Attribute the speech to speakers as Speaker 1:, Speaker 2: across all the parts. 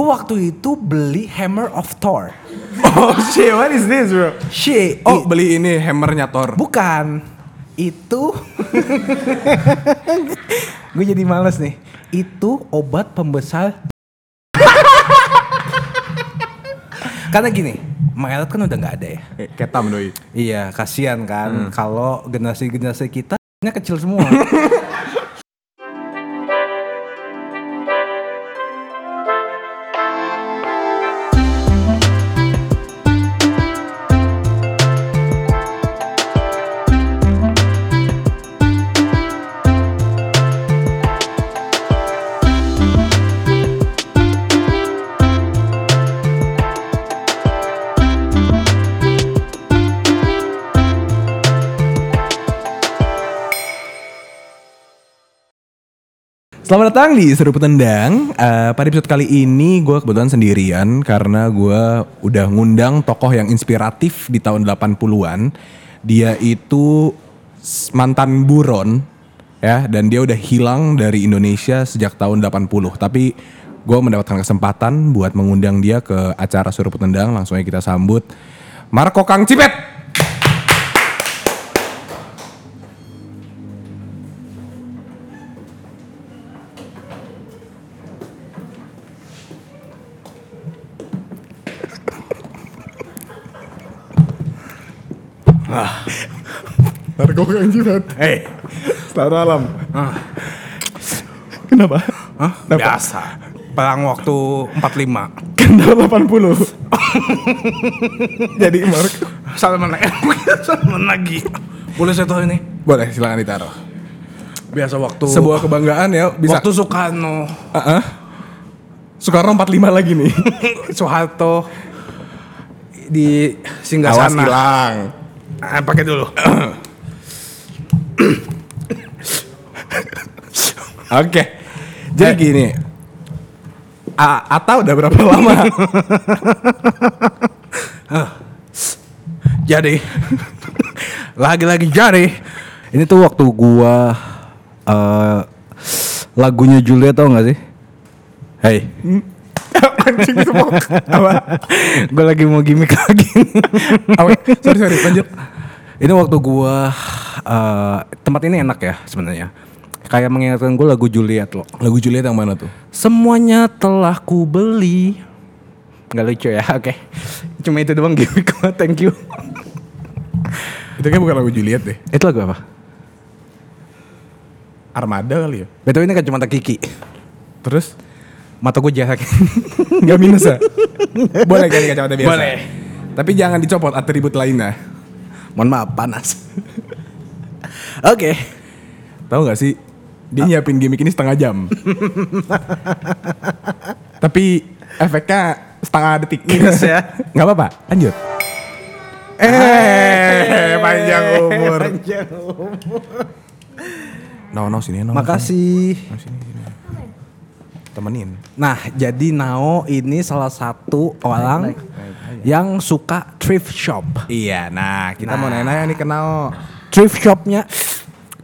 Speaker 1: Oh, waktu itu beli Hammer of Thor.
Speaker 2: Oh shit, what is this bro?
Speaker 1: Shit.
Speaker 2: Oh
Speaker 1: i-
Speaker 2: beli ini hammernya Thor.
Speaker 1: bukan. Itu gue jadi males nih. Itu obat pembesar Karena gini, Maret kan udah nggak ada ya.
Speaker 2: Eh, Ketam doi.
Speaker 1: Iya, kasihan kan kalau generasi-generasi kita nya kecil semua.
Speaker 2: Selamat datang di Seru Petendang. Eh, pada episode kali ini gue kebetulan sendirian karena gue udah ngundang tokoh yang inspiratif di tahun 80-an. Dia itu s- mantan buron ya dan dia udah hilang dari Indonesia sejak tahun 80. Tapi gue mendapatkan kesempatan buat mengundang dia ke acara Seru Petendang. Langsung aja kita sambut Marco Kang Cipet.
Speaker 3: Marco Kang Jirat.
Speaker 1: Eh,
Speaker 2: Hey,
Speaker 3: Selamat malam.
Speaker 4: Ah.
Speaker 3: Kenapa?
Speaker 1: Hah? Biasa. Perang waktu 45.
Speaker 3: Kendal 80. Jadi Marco.
Speaker 1: Salman lagi. Salman lagi. Boleh saya tahu ini?
Speaker 2: boleh silakan ditaruh.
Speaker 1: Biasa waktu
Speaker 2: Sebuah kebanggaan ya bisa.
Speaker 1: waktu Soekarno,
Speaker 2: Heeh. Soekarno 45 lagi nih.
Speaker 1: Soeharto di singgah
Speaker 2: Awas
Speaker 1: sana.
Speaker 2: hilang.
Speaker 1: Ah, pakai dulu.
Speaker 2: Oke. Jadi gini. A Ata udah berapa lama?
Speaker 1: Jadi lagi-lagi jari.
Speaker 4: Ini tuh waktu gua eh, lagunya Julia tau gak sih? Hey,
Speaker 3: Anjing semua.
Speaker 4: gua lagi mau gimmick lagi.
Speaker 2: Awe, sorry sorry lanjut.
Speaker 4: ini waktu gua eh, tempat ini enak ya sebenarnya. Kayak mengingatkan gua lagu Juliet loh.
Speaker 2: Lagu Juliet yang mana tuh?
Speaker 4: Semuanya telah ku beli. Gak lucu ya, oke. Cuma itu doang gimmick gua, thank you.
Speaker 2: Itu kayak bukan lagu Juliet deh.
Speaker 4: itu lagu apa?
Speaker 2: Armada kali ya.
Speaker 4: Betul ini kacamata Kiki.
Speaker 2: Terus
Speaker 4: Mata gua jahat.
Speaker 2: nggak minus ya? Boleh ganti kacamata biasa.
Speaker 4: Boleh.
Speaker 2: Tapi jangan dicopot atribut lainnya.
Speaker 4: Mohon maaf panas. oke.
Speaker 2: Tahu nggak sih? Dia nyiapin gimmick ini setengah jam. Tapi efeknya setengah detik.
Speaker 4: Minus ya.
Speaker 2: Nggak apa-apa. Lanjut. Ah, Eh, panjang umur. Panjang umur. No, no sini, no.
Speaker 4: Makasih.
Speaker 2: No, sini, sini. Temenin.
Speaker 4: Nah, jadi Nao ini salah satu orang yang suka thrift shop.
Speaker 2: Iya, nah kita mau nanya-nanya nih kenal.
Speaker 4: Thrift shopnya,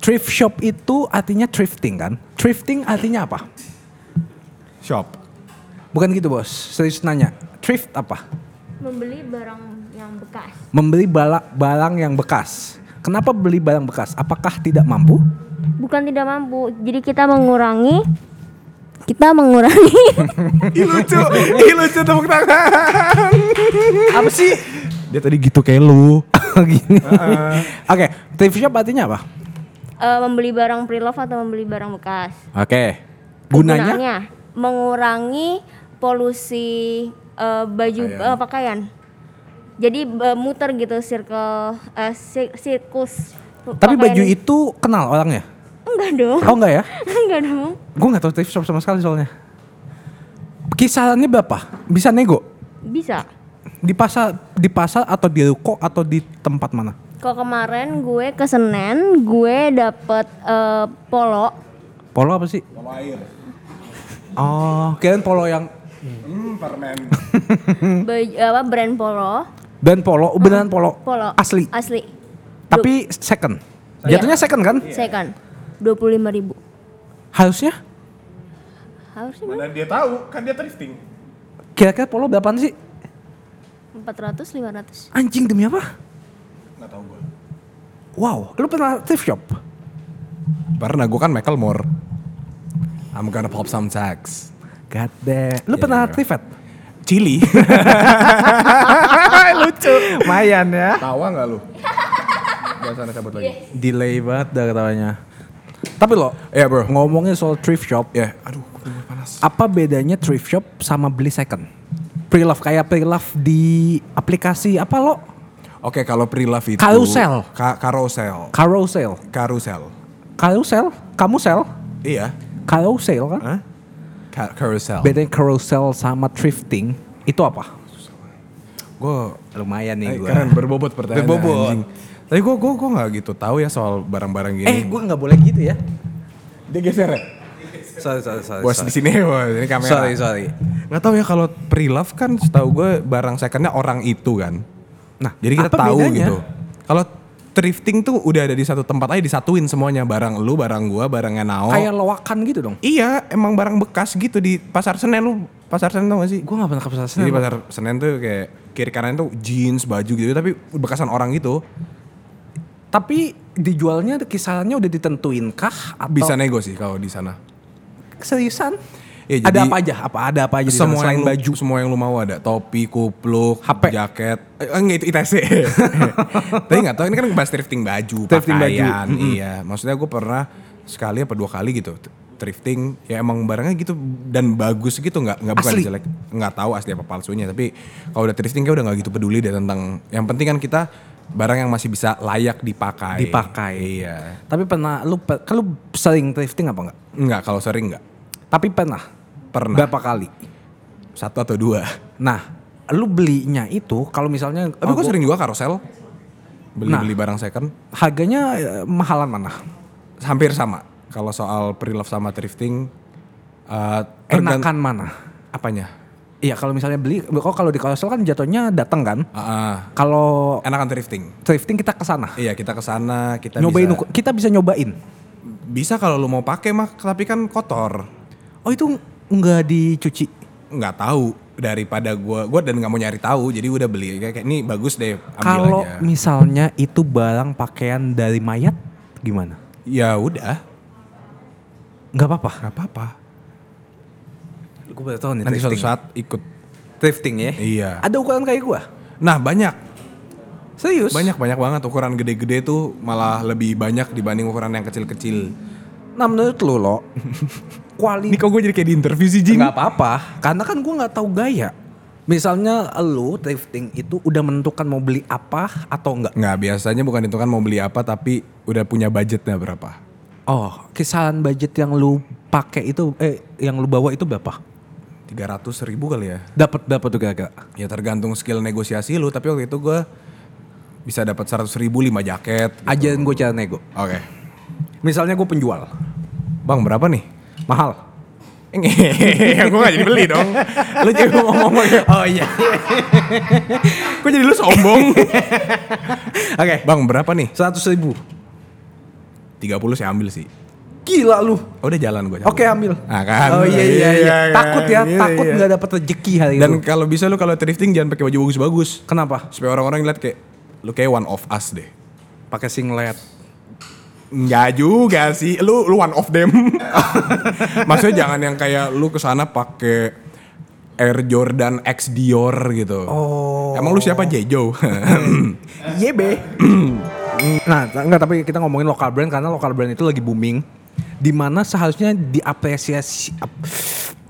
Speaker 4: thrift shop itu artinya thrifting kan? Thrifting artinya apa?
Speaker 2: Shop.
Speaker 4: Bukan gitu bos, serius nanya. Thrift apa?
Speaker 5: membeli barang yang bekas
Speaker 4: Membeli bala- barang yang bekas. Kenapa beli barang bekas? Apakah tidak mampu?
Speaker 5: bukan tidak mampu jadi kita mengurangi kita mengurangi
Speaker 2: Ih lucu, ih lucu tepuk tangan.
Speaker 4: Apa sih?
Speaker 2: Dia tadi gitu kayak lu.
Speaker 4: Gini. Oke, thrift shop artinya apa?
Speaker 5: Eh, membeli barang pre-love atau membeli barang bekas
Speaker 4: Oke. Gunanya?
Speaker 5: mengurangi polusi eh, baju eh, pakaian jadi eh, muter gitu circle eh, si- siklus
Speaker 4: Tapi
Speaker 5: pakaian
Speaker 4: baju itu kenal orangnya?
Speaker 5: enggak dong
Speaker 4: Oh enggak ya?
Speaker 5: enggak dong
Speaker 4: Gue gak tau thrift shop sama sekali soalnya. Kisarannya berapa? Bisa nego?
Speaker 5: bisa
Speaker 4: Di pasar, di pasar atau di ruko atau di tempat mana?
Speaker 5: kalau kemarin gue ke Senen gue dapet eh, polo
Speaker 4: Polo apa sih? Polo air. Oh, kirain polo yang
Speaker 5: baju, apa brand polo
Speaker 4: dan polo, oh, beneran polo,
Speaker 5: polo
Speaker 4: asli.
Speaker 5: asli
Speaker 4: Tapi second. Jatuhnya second kan?
Speaker 5: second dua puluh lima ribu
Speaker 4: Harusnya?
Speaker 5: harusnya
Speaker 3: Mana dia tahu kan dia thrifting.
Speaker 4: Kira-kira polo berapaan sih?
Speaker 5: 400 500
Speaker 4: Anjing demi apa? Gak tau gue. Wow, lu pernah thrift shop?
Speaker 2: Pernah gue kan Michael Moore. I'm gonna pop some tags.
Speaker 4: God damn. Lu pernah thrift Fat?
Speaker 2: Chili.
Speaker 4: Lumayan ya.
Speaker 3: Tawa nggak lu? Jangan sana cabut lagi.
Speaker 2: Delay banget dah ketawanya. Tapi lo, ya bro.
Speaker 4: Ngomongin soal thrift shop,
Speaker 2: Ya, aduh, gue panas.
Speaker 4: apa bedanya thrift shop sama beli second? Pre-love kayak pre-love di aplikasi apa lo?
Speaker 2: Oke, kalau pre-love itu
Speaker 4: Carousel.
Speaker 2: Ka carousel.
Speaker 4: Carousel.
Speaker 2: Carousel.
Speaker 4: Carousel? Kamu sel?
Speaker 2: Iya.
Speaker 4: Carousel kan?
Speaker 2: Hah? Ca- carousel.
Speaker 4: Bedanya carousel sama thrifting itu apa?
Speaker 2: Gue
Speaker 4: Lumayan
Speaker 2: Eh,
Speaker 4: nih gue.
Speaker 3: Keren berbobot pertanyaan.
Speaker 2: bobot. Tapi gue gue gue nggak gitu tahu ya soal barang-barang gini.
Speaker 4: Eh, gue nggak boleh gitu ya.
Speaker 3: Dia geser ya?
Speaker 4: Sorry, sorry, sorry.
Speaker 2: bos di sini, bos ini kamera.
Speaker 4: Sorry, sorry.
Speaker 2: Nggak tahu ya kalau pre-love kan setahu gue barang secondnya orang itu kan. Nah, jadi kita
Speaker 4: apa
Speaker 2: tahu
Speaker 4: bedanya?
Speaker 2: gitu. Kalau thrifting tuh udah ada di satu tempat aja disatuin semuanya barang lu, barang gua, barangnya Nao.
Speaker 4: Kayak loakan gitu dong.
Speaker 2: Iya, emang barang bekas gitu di pasar Senen lu pasar Senen tau gak sih?
Speaker 4: Gue nggak pernah ke pasar
Speaker 2: Jadi pasar Senen tuh kayak kiri kanan tuh jeans, baju gitu tapi bekasan orang gitu.
Speaker 4: Tapi dijualnya kisarannya udah ditentuin kah? Atau
Speaker 2: Bisa nego sih kalau di sana.
Speaker 4: seriusan?
Speaker 2: Ya,
Speaker 4: ada
Speaker 2: jadi-
Speaker 4: apa aja? Apa ada apa aja? di sana
Speaker 2: semua
Speaker 4: selain
Speaker 2: yang lu, baju semua yang lu mau ada topi kupluk
Speaker 4: HP.
Speaker 2: jaket eh, enggak itu ITC tapi nggak tahu ini kan bahas thrifting baju
Speaker 4: Thrifting baju,
Speaker 2: pakaian iya maksudnya gue pernah sekali apa dua kali gitu t- thrifting ya emang barangnya gitu dan bagus gitu nggak nggak bukan
Speaker 4: Asli.
Speaker 2: jelek nggak tahu asli apa palsunya tapi kalau udah thrifting kayak udah nggak gitu peduli deh tentang yang penting kan kita barang yang masih bisa layak dipakai
Speaker 4: Dipakai.
Speaker 2: iya
Speaker 4: Tapi pernah lu pe- kan lu sering thrifting apa enggak?
Speaker 2: nggak kalau sering nggak
Speaker 4: Tapi pernah.
Speaker 2: Pernah.
Speaker 4: Berapa kali?
Speaker 2: satu atau dua
Speaker 4: Nah, lu belinya itu kalau misalnya
Speaker 2: tapi
Speaker 4: oh,
Speaker 2: gue
Speaker 4: gua-
Speaker 2: sering juga karosel beli
Speaker 4: Nah.
Speaker 2: beli barang second
Speaker 4: harganya eh, mahalan mana?
Speaker 2: hampir sama. Kalau soal pre-love sama thrifting, eh tergan-
Speaker 4: Enakan mana?
Speaker 2: apanya?
Speaker 4: Iya, kalau misalnya beli kok kalau di carousel kan jatuhnya datang kan?
Speaker 2: Ah,
Speaker 4: Kalau
Speaker 2: ah, enakan thrifting.
Speaker 4: thrifting kita ke sana.
Speaker 2: Iya kita ke sana kita
Speaker 4: Nyobain
Speaker 2: bisa.
Speaker 4: ukur- kita bisa nyobain.
Speaker 2: Bisa kalau lu mau pakai mah, tapi kan kotor.
Speaker 4: Oh, itu nggak dicuci.
Speaker 2: Nggak tahu daripada gua gua dan nggak mau nyari tahu jadi udah beli kayak, kayak, ini bagus deh ambil
Speaker 4: Kalau
Speaker 2: aja.
Speaker 4: misalnya itu barang pakaian dari mayat gimana?
Speaker 2: ya udah
Speaker 4: Nggak apa-apa.
Speaker 2: nggak apa-apa.
Speaker 4: Gue baru tahu nih
Speaker 2: Nanti suatu
Speaker 4: thrifting.
Speaker 2: saat ikut.
Speaker 4: thrifting ya.
Speaker 2: Iya.
Speaker 4: Ada ukuran kayak gua?
Speaker 2: Nah banyak
Speaker 4: Serius?
Speaker 2: banyak banyak banget ukuran gede-gede tuh malah lebih banyak dibanding ukuran yang kecil-kecil.
Speaker 4: Nah menurut lu lo
Speaker 2: Ini
Speaker 4: kualitas
Speaker 2: kok gue jadi kayak di interview sih Jing?
Speaker 4: nggak apa-apa karena kan gue nggak tahu gaya. Misalnya lu thrifting itu udah menentukan mau beli apa atau enggak?
Speaker 2: Nggak, biasanya bukan itu kan mau beli apa tapi udah punya budgetnya berapa.
Speaker 4: Oh kisaran budget yang lu pakai itu eh yang lu bawa itu berapa?
Speaker 2: 300 ribu kali ya.
Speaker 4: Dapat dapat tuh kagak?
Speaker 2: Ya tergantung skill negosiasi lu, tapi waktu itu gue bisa dapat 100 ribu 5 jaket.
Speaker 4: Ajarin gue cara nego.
Speaker 2: Oke.
Speaker 4: Misalnya gue penjual
Speaker 2: Bang berapa nih?
Speaker 4: mahal.
Speaker 2: gue gak ya jadi beli dong. Lu jadi ngomong Oh iya. Kok jadi lu sombong?
Speaker 4: Oke.
Speaker 2: Bang berapa nih?
Speaker 4: Seratus ribu.
Speaker 2: 30 saya ambil sih.
Speaker 4: Gila lu.
Speaker 2: Oh, udah jalan gue.
Speaker 4: Oke ambil.
Speaker 2: Nah,
Speaker 4: Oh
Speaker 2: kan.
Speaker 4: iya iya iya.
Speaker 3: Iya,
Speaker 4: Takut ya,
Speaker 3: iya,
Speaker 4: takut
Speaker 3: iya.
Speaker 4: nggak dapat rezeki hari
Speaker 2: Dan
Speaker 4: itu.
Speaker 2: kalau bisa lu kalau thrifting jangan pakai baju bagus-bagus.
Speaker 4: Kenapa?
Speaker 2: Supaya orang-orang ngeliat kayak lu kayak one of us deh.
Speaker 4: Pakai singlet.
Speaker 2: Enggak juga sih. Lu lu one of them. Maksudnya jangan yang kayak lu kesana pakai Air Jordan X Dior gitu. Oh. Emang lu siapa Jejo?
Speaker 4: YB. nah, t- enggak tapi kita ngomongin lokal brand karena lokal brand itu lagi booming. Di mana seharusnya diapresiasi ap-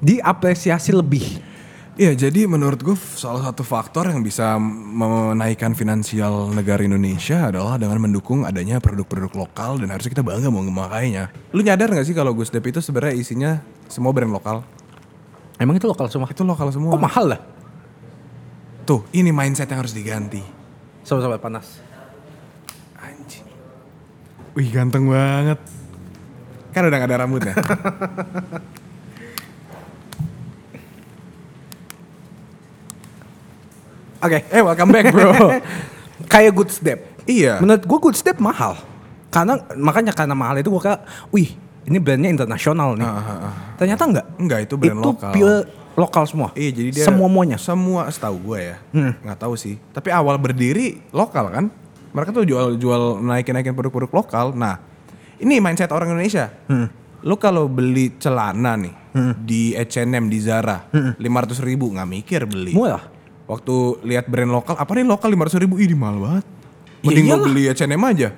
Speaker 4: diapresiasi lebih.
Speaker 2: Iya, jadi menurut gue salah satu faktor yang bisa menaikkan finansial negara Indonesia adalah dengan mendukung adanya produk-produk lokal dan harusnya kita bangga mau memakainya. Lu nyadar gak sih kalau Gus Dep itu sebenarnya isinya semua brand lokal?
Speaker 4: Emang itu lokal semua?
Speaker 2: Itu lokal semua.
Speaker 4: Kok mahal lah?
Speaker 2: Tuh, ini mindset yang harus diganti.
Speaker 4: Sobat-sobat panas.
Speaker 2: Anjing. Wih ganteng banget. Kan udah gak ada rambutnya.
Speaker 4: Oke.
Speaker 2: eh welcome back bro.
Speaker 4: Kayak good step.
Speaker 2: iya.
Speaker 4: Menurut gua good step mahal. Karena makanya karena mahal itu gua kira, wih, ini brandnya internasional nih.
Speaker 2: Ah, ah, ah.
Speaker 4: Ternyata enggak.
Speaker 2: Enggak, itu brand lokal.
Speaker 4: pure lokal semua.
Speaker 2: Iya jadi dia
Speaker 4: semua Hmm. muanya.
Speaker 2: semua setahu gue ya nggak tahu sih tapi awal berdiri lokal kan mereka tuh jual jual naikin naikin produk-produk lokal nah ini mindset orang Indonesia
Speaker 4: Hmm.
Speaker 2: lu kalau beli celana nih di H&M di Zara lima ribu nggak mikir beli
Speaker 4: Hmm. Murah.
Speaker 2: waktu lihat brand lokal apa nih lokal lima ribu ini mahal banget mending
Speaker 4: Ya
Speaker 2: gue beli H&M aja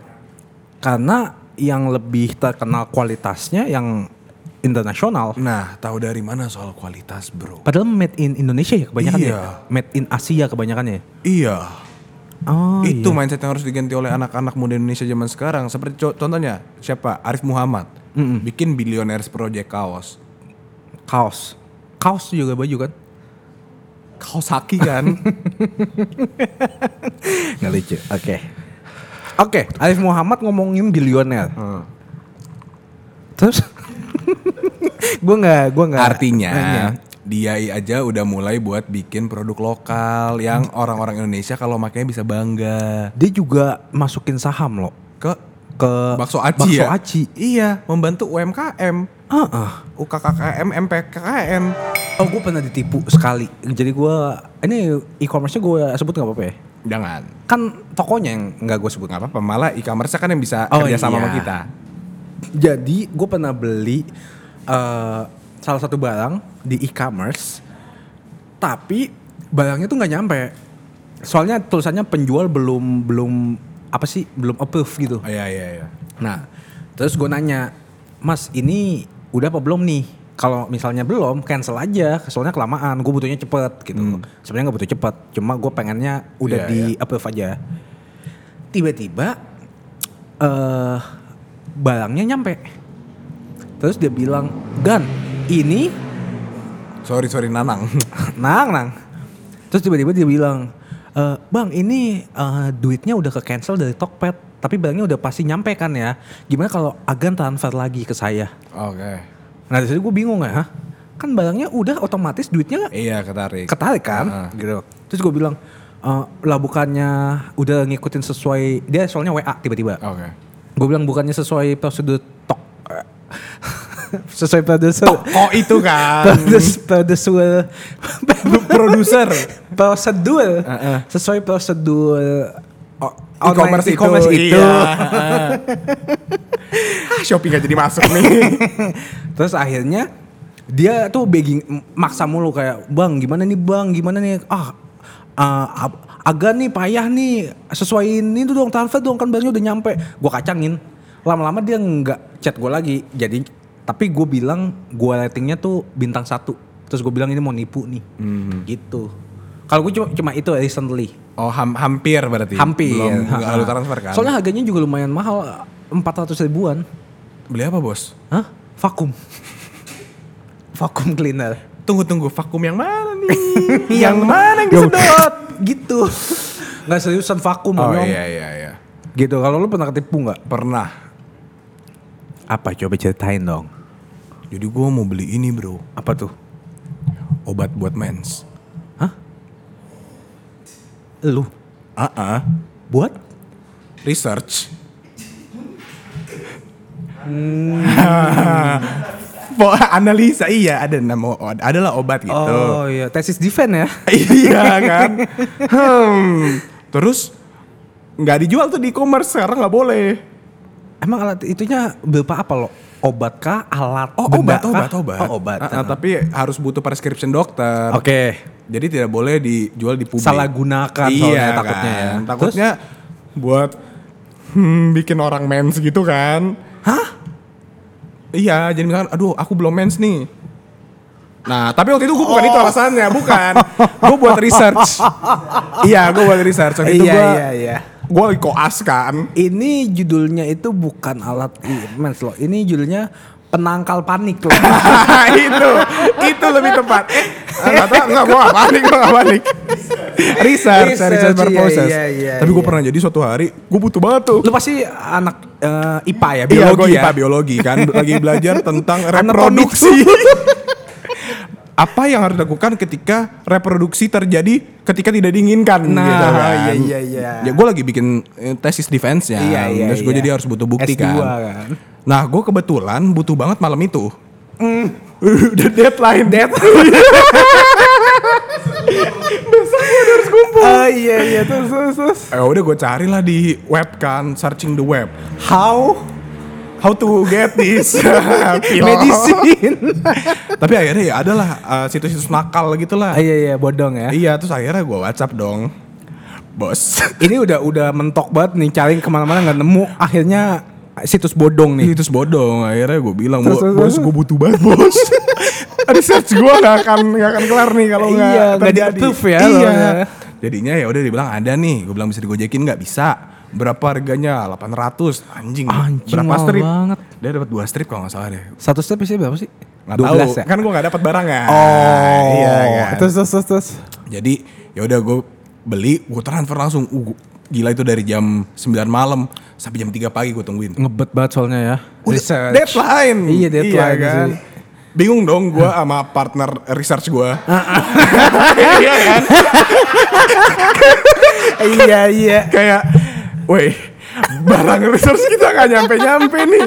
Speaker 4: Karena yang lebih terkenal kualitasnya yang internasional.
Speaker 2: nah tahu dari mana soal kualitas bro
Speaker 4: Padahal made in Indonesia ya kebanyakan
Speaker 2: Iya.
Speaker 4: ya. Made in Asia kebanyakan ya.
Speaker 2: iya
Speaker 4: Oh,
Speaker 2: itu mindset yang harus diganti oleh anak-anak muda Indonesia zaman sekarang. Seperti co- contohnya siapa? Arif Muhammad. Bikin Billionaires Project kaos.
Speaker 4: kaos. Kaos juga baju kan?
Speaker 2: Kaos haki kan?
Speaker 6: Nggak lucu. Oke.
Speaker 4: Oke, Arif Muhammad ngomongin bilioner.
Speaker 2: Hmm.
Speaker 4: Terus gua nggak gua nggak
Speaker 2: Artinya dia aja udah mulai buat bikin produk lokal yang orang-orang Indonesia kalau makanya bisa bangga.
Speaker 4: dia juga masukin saham loh
Speaker 2: Ke
Speaker 4: ke
Speaker 2: bakso aci
Speaker 4: bakso
Speaker 2: ya?
Speaker 4: aci.
Speaker 2: Iya, membantu UMKM,
Speaker 4: Ah, ah.
Speaker 2: UKKKM, MPKKM.
Speaker 4: Oh, gue pernah ditipu sekali. Jadi gua ini e-commerce-nya gue sebut nggak apa-apa ya?
Speaker 2: Jangan.
Speaker 4: Kan tokonya yang nggak gue sebut
Speaker 2: Gak apa-apa, malah e-commerce kan yang bisa
Speaker 4: Oh,
Speaker 2: kerja sama
Speaker 4: iya.
Speaker 2: sama kita.
Speaker 4: Jadi gue pernah beli eh, salah satu barang di e-commerce, tapi barangnya tuh nggak nyampe. Soalnya tulisannya penjual belum belum apa sih belum approve gitu.
Speaker 2: Oh, iya, iya, iya.
Speaker 4: Nah, terus gue nanya, Mas ini udah apa belum nih? Kalau misalnya belum, cancel aja. Soalnya kelamaan, gue butuhnya cepet gitu. Sebenarnya nggak butuh cepet, cuma gue pengennya udah
Speaker 2: Hmm. Iya,
Speaker 4: di approve aja. Tiba-tiba eh barangnya nyampe. Terus dia bilang, Gan, ini
Speaker 2: Sorry, sorry, Nanang.
Speaker 4: nang nang terus tiba-tiba dia bilang e, bang ini eh, duitnya udah ke cancel dari Tokped tapi barangnya udah pasti nyampe kan ya gimana kalau agan transfer lagi ke saya
Speaker 2: Oke.
Speaker 4: nah dari situ gue bingung ya "Hah? kan barangnya udah otomatis duitnya
Speaker 2: Iya ketarik.
Speaker 4: ketarik kan gitu terus gue bilang "E, lah bukannya udah ngikutin sesuai dia soalnya WA tiba-tiba
Speaker 2: Oke.
Speaker 4: gue bilang bukannya sesuai prosedur tok sesuai prosedur
Speaker 2: Oh itu kan
Speaker 4: Prodes- prosedur
Speaker 2: produser.
Speaker 4: prosedur sesuai prosedur o- online
Speaker 2: Oh, E-commerce itu,
Speaker 4: e-commerce itu,
Speaker 2: iya. ah, Shopee gak jadi masuk nih.
Speaker 4: terus akhirnya dia tuh begging m- maksa mulu kayak bang gimana nih bang gimana nih ah ah, ab- agak nih payah nih sesuaiin itu dong transfer dong kan barangnya udah nyampe gua kacangin lama-lama dia nggak chat gua lagi jadi tapi gue bilang gua ratingnya tuh bintang satu terus gue bilang ini mau nipu nih
Speaker 2: Hmm.
Speaker 4: gitu kalau gue cuma cuma itu recently
Speaker 2: Oh ham- hampir berarti.
Speaker 4: Hampir.
Speaker 2: Belum nggak
Speaker 4: Ha-ha.
Speaker 2: lalu transfer kan.
Speaker 4: Soalnya harganya juga lumayan mahal, 400 ribuan.
Speaker 2: beli apa bos?
Speaker 4: Hah? Vakum. Vakum cleaner.
Speaker 2: Tunggu tunggu vakum yang mana nih? yang mana yang disedot?
Speaker 4: Ya gitu. Nggak seriusan vakum,
Speaker 2: Oh
Speaker 4: Om.
Speaker 2: iya iya iya.
Speaker 4: Gitu. Kalau lu pernah ketipu nggak?
Speaker 2: Pernah.
Speaker 4: Apa? Coba ceritain dong.
Speaker 2: Jadi gue mau beli ini bro.
Speaker 4: Apa tuh?
Speaker 2: Obat buat mens.
Speaker 4: Lu
Speaker 2: Ah ah.
Speaker 4: buat?
Speaker 2: Research. Bo- Hmm. analisa iya ada nama adalah obat gitu.
Speaker 4: Oh iya, tesis defense ya.
Speaker 2: iya kan. Hmm. Terus nggak dijual tuh di e-commerce sekarang nggak boleh.
Speaker 4: Emang alat itunya berupa apa lo? Obat kah? Alat?
Speaker 2: Oh
Speaker 4: benda
Speaker 2: obat, obat,
Speaker 4: kah?
Speaker 2: obat.
Speaker 4: Oh, obat.
Speaker 2: Ah, ah, tapi harus butuh prescription dokter.
Speaker 4: Oke.
Speaker 2: Jadi tidak boleh dijual di publik.
Speaker 4: Salah gunakan
Speaker 2: iya,
Speaker 4: soalnya
Speaker 2: kan.
Speaker 4: takutnya ya.
Speaker 2: Takutnya buat hmm, bikin orang mens gitu kan.
Speaker 4: Hah?
Speaker 2: Iya, jadi misalkan aduh aku belum mens nih. Nah, tapi waktu itu gue bukan itu
Speaker 4: Oh.
Speaker 2: alasannya, bukan. gue buat research. iya, gue buat research. Waktu itu
Speaker 4: Iya,
Speaker 2: gua,
Speaker 4: iya, iya.
Speaker 2: Gue lagi koas kan.
Speaker 4: Ini judulnya itu bukan alat imens loh. Ini judulnya penangkal panik loh.
Speaker 2: itu, itu lebih tepat. Eh, nggak tahu, nggak gue nggak panik, gue nggak panik. research,
Speaker 4: Research,
Speaker 2: research,
Speaker 4: iya,
Speaker 2: purposes.
Speaker 4: iya, iya,
Speaker 2: tapi gue
Speaker 4: iya.
Speaker 2: pernah jadi suatu hari, gue butuh banget tuh.
Speaker 4: Lu pasti anak eh, IPA ya,
Speaker 2: Iya,
Speaker 4: biologi
Speaker 2: gue
Speaker 4: ya.
Speaker 2: IPA biologi kan, lagi belajar tentang
Speaker 4: Anatomi
Speaker 2: reproduksi. Apa yang harus dilakukan ketika reproduksi terjadi ketika tidak diinginkan?
Speaker 4: Nah,
Speaker 2: gitu kan.
Speaker 4: iya, iya, iya.
Speaker 2: Ya gue lagi bikin eh, tesis defense ya,
Speaker 4: Iya, iya,
Speaker 2: terus gue
Speaker 4: iya.
Speaker 2: jadi harus butuh bukti
Speaker 4: S2 kan.
Speaker 2: Nah, gue kebetulan butuh banget malam itu. Udah deadline. Deadline.
Speaker 4: Oh iya iya terus terus terus.
Speaker 2: Eh udah gue carilah di web kan, searching the web. How how to get this Pilo.
Speaker 4: Medicine.
Speaker 2: Tapi akhirnya ya adalah eh, situs-situs nakal gitu lah.
Speaker 4: iya iya bodong ya.
Speaker 2: Iya, terus akhirnya gue WhatsApp dong. Bos.
Speaker 4: Ini udah udah mentok banget nih cari kemana-mana nggak nemu. Akhirnya situs bodong nih.
Speaker 2: Situs bodong. Akhirnya gue bilang,
Speaker 4: Terus, terus,
Speaker 2: "Bos,
Speaker 4: terus.
Speaker 2: gue butuh banget, Bos." Research gue gak akan gak akan kelar nih kalau nggak
Speaker 4: Iya, nggak
Speaker 2: terjadi.
Speaker 4: di-approve ya,
Speaker 2: Iya.
Speaker 4: soalnya.
Speaker 2: Jadinya ya udah dibilang ada nih. Gue bilang bisa digojekin nggak bisa. Berapa harganya? 800. Anjing.
Speaker 4: Anjing,
Speaker 2: berapa
Speaker 4: mahal
Speaker 2: strip?
Speaker 4: banget.
Speaker 2: Dia dapat dua strip kalau nggak salah deh.
Speaker 4: Satu step isinya berapa sih?
Speaker 2: Gak tahu.
Speaker 4: 12 ya?
Speaker 2: Kan gue gak dapat barangnya.
Speaker 4: Oh,
Speaker 2: iya kan.
Speaker 4: terus terus terus. terus.
Speaker 2: Jadi ya udah gue beli, gue transfer langsung. Uh, gu- gila itu dari jam 9 malam sampai jam 3 pagi gue tungguin.
Speaker 4: Ngebet banget soalnya ya.
Speaker 2: Udah,
Speaker 4: Research.
Speaker 2: Deadline.
Speaker 4: Iya, deadline
Speaker 2: kan.
Speaker 4: sih.
Speaker 2: Bingung dong gue sama partner research gue.
Speaker 4: Ah.
Speaker 2: iya kan.
Speaker 4: iya iya.
Speaker 2: Kayak, weh barang research kita gak nyampe-nyampe nih.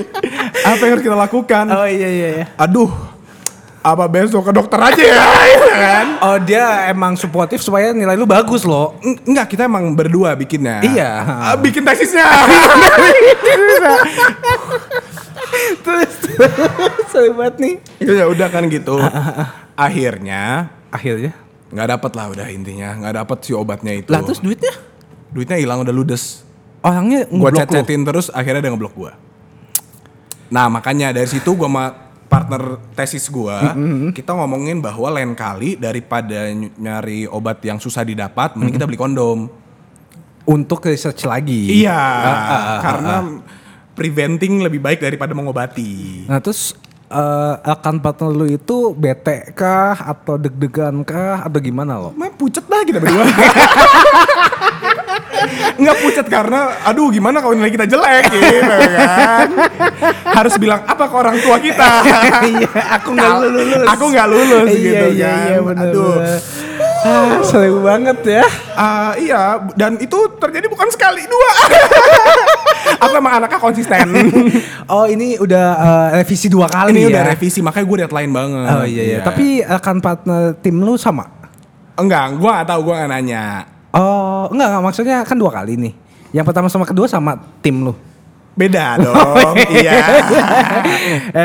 Speaker 2: Apa yang harus kita lakukan?
Speaker 4: Oh iya iya. iya.
Speaker 2: Aduh, apa besok ke dokter aja ya? Iya kan?
Speaker 4: Oh dia emang suportif supaya nilai lu bagus loh.
Speaker 2: Eng- Enggak, kita emang berdua bikinnya.
Speaker 4: Iya.
Speaker 2: Ah, bikin tesisnya.
Speaker 4: Sorry banget nih.
Speaker 2: ya udah kan gitu. Akhirnya
Speaker 4: Akhirnya.
Speaker 2: nggak dapat lah udah intinya nggak dapat si obatnya itu.
Speaker 4: Lah terus duitnya?
Speaker 2: duitnya hilang udah ludes.
Speaker 4: Orangnya
Speaker 2: Gua
Speaker 4: ngeblok lu.
Speaker 2: chat-chatin terus akhirnya dia ngeblok gua. Nah, makanya dari situ gua sama partner tesis gua, kita ngomongin bahwa lain kali daripada ny- nyari obat yang susah didapat, mending kita beli kondom.
Speaker 4: Untuk research lagi. Ah,
Speaker 2: Iya, karena preventing lebih baik daripada mengobati.
Speaker 4: Nah terus eh, akan partner lu itu bete kah atau deg-degan kah atau gimana lo?
Speaker 2: Mah pucet dah kita berdua. Nggak pucet karena aduh gimana kalau nilai kita jelek gitu kan. Harus bilang apa ke orang tua kita.
Speaker 4: Iya, aku nggak lulus.
Speaker 2: Aku nggak lulus
Speaker 4: Iya,
Speaker 2: gitu
Speaker 4: iya,
Speaker 2: kan.
Speaker 4: iya, bener,
Speaker 2: aduh.
Speaker 4: bener. Ah, seru banget ya.
Speaker 2: Ah, iya, dan itu terjadi bukan sekali dua. Aku emang anaknya konsisten.
Speaker 4: Oh ini udah eh, revisi dua kali ya.
Speaker 2: Ini udah revisi, makanya gue deadline banget.
Speaker 4: Oh iya iya. Tapi akan partner tim lu sama?
Speaker 2: enggak, gue nggak tahu, gue nggak nanya.
Speaker 4: Oh enggak, enggak maksudnya kan dua kali nih. Yang pertama sama kedua sama tim lu. Oh,
Speaker 2: Beda dong, iya.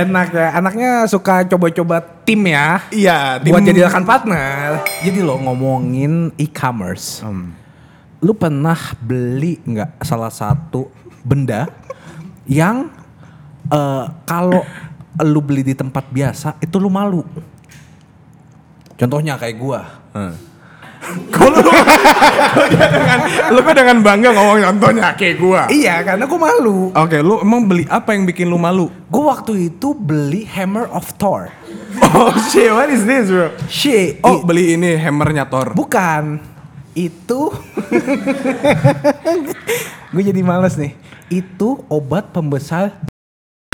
Speaker 4: Enak ya. Anaknya suka coba-coba tim ya.
Speaker 2: Iya,
Speaker 4: Buat
Speaker 2: tim-
Speaker 4: jadi rekan partner. Hmm. Jadi lo ngomongin e-commerce. Lu pernah beli nggak salah satu benda yang eh, kalau lu beli di tempat biasa itu lu malu. Contohnya kayak gua. Hmm.
Speaker 2: Kalau lu, lu dengan, lu kok dengan bangga ngomong contohnya kayak gua.
Speaker 4: Iya, karena gua malu.
Speaker 2: Oke, lu emang beli apa yang bikin lu malu?
Speaker 4: Gua waktu itu beli Hammer of Thor.
Speaker 2: Oh shit, what is this bro?
Speaker 4: Shit.
Speaker 2: Oh beli ini hammernya Thor.
Speaker 4: Bukan. Itu Gue jadi males nih. Itu obat pembesar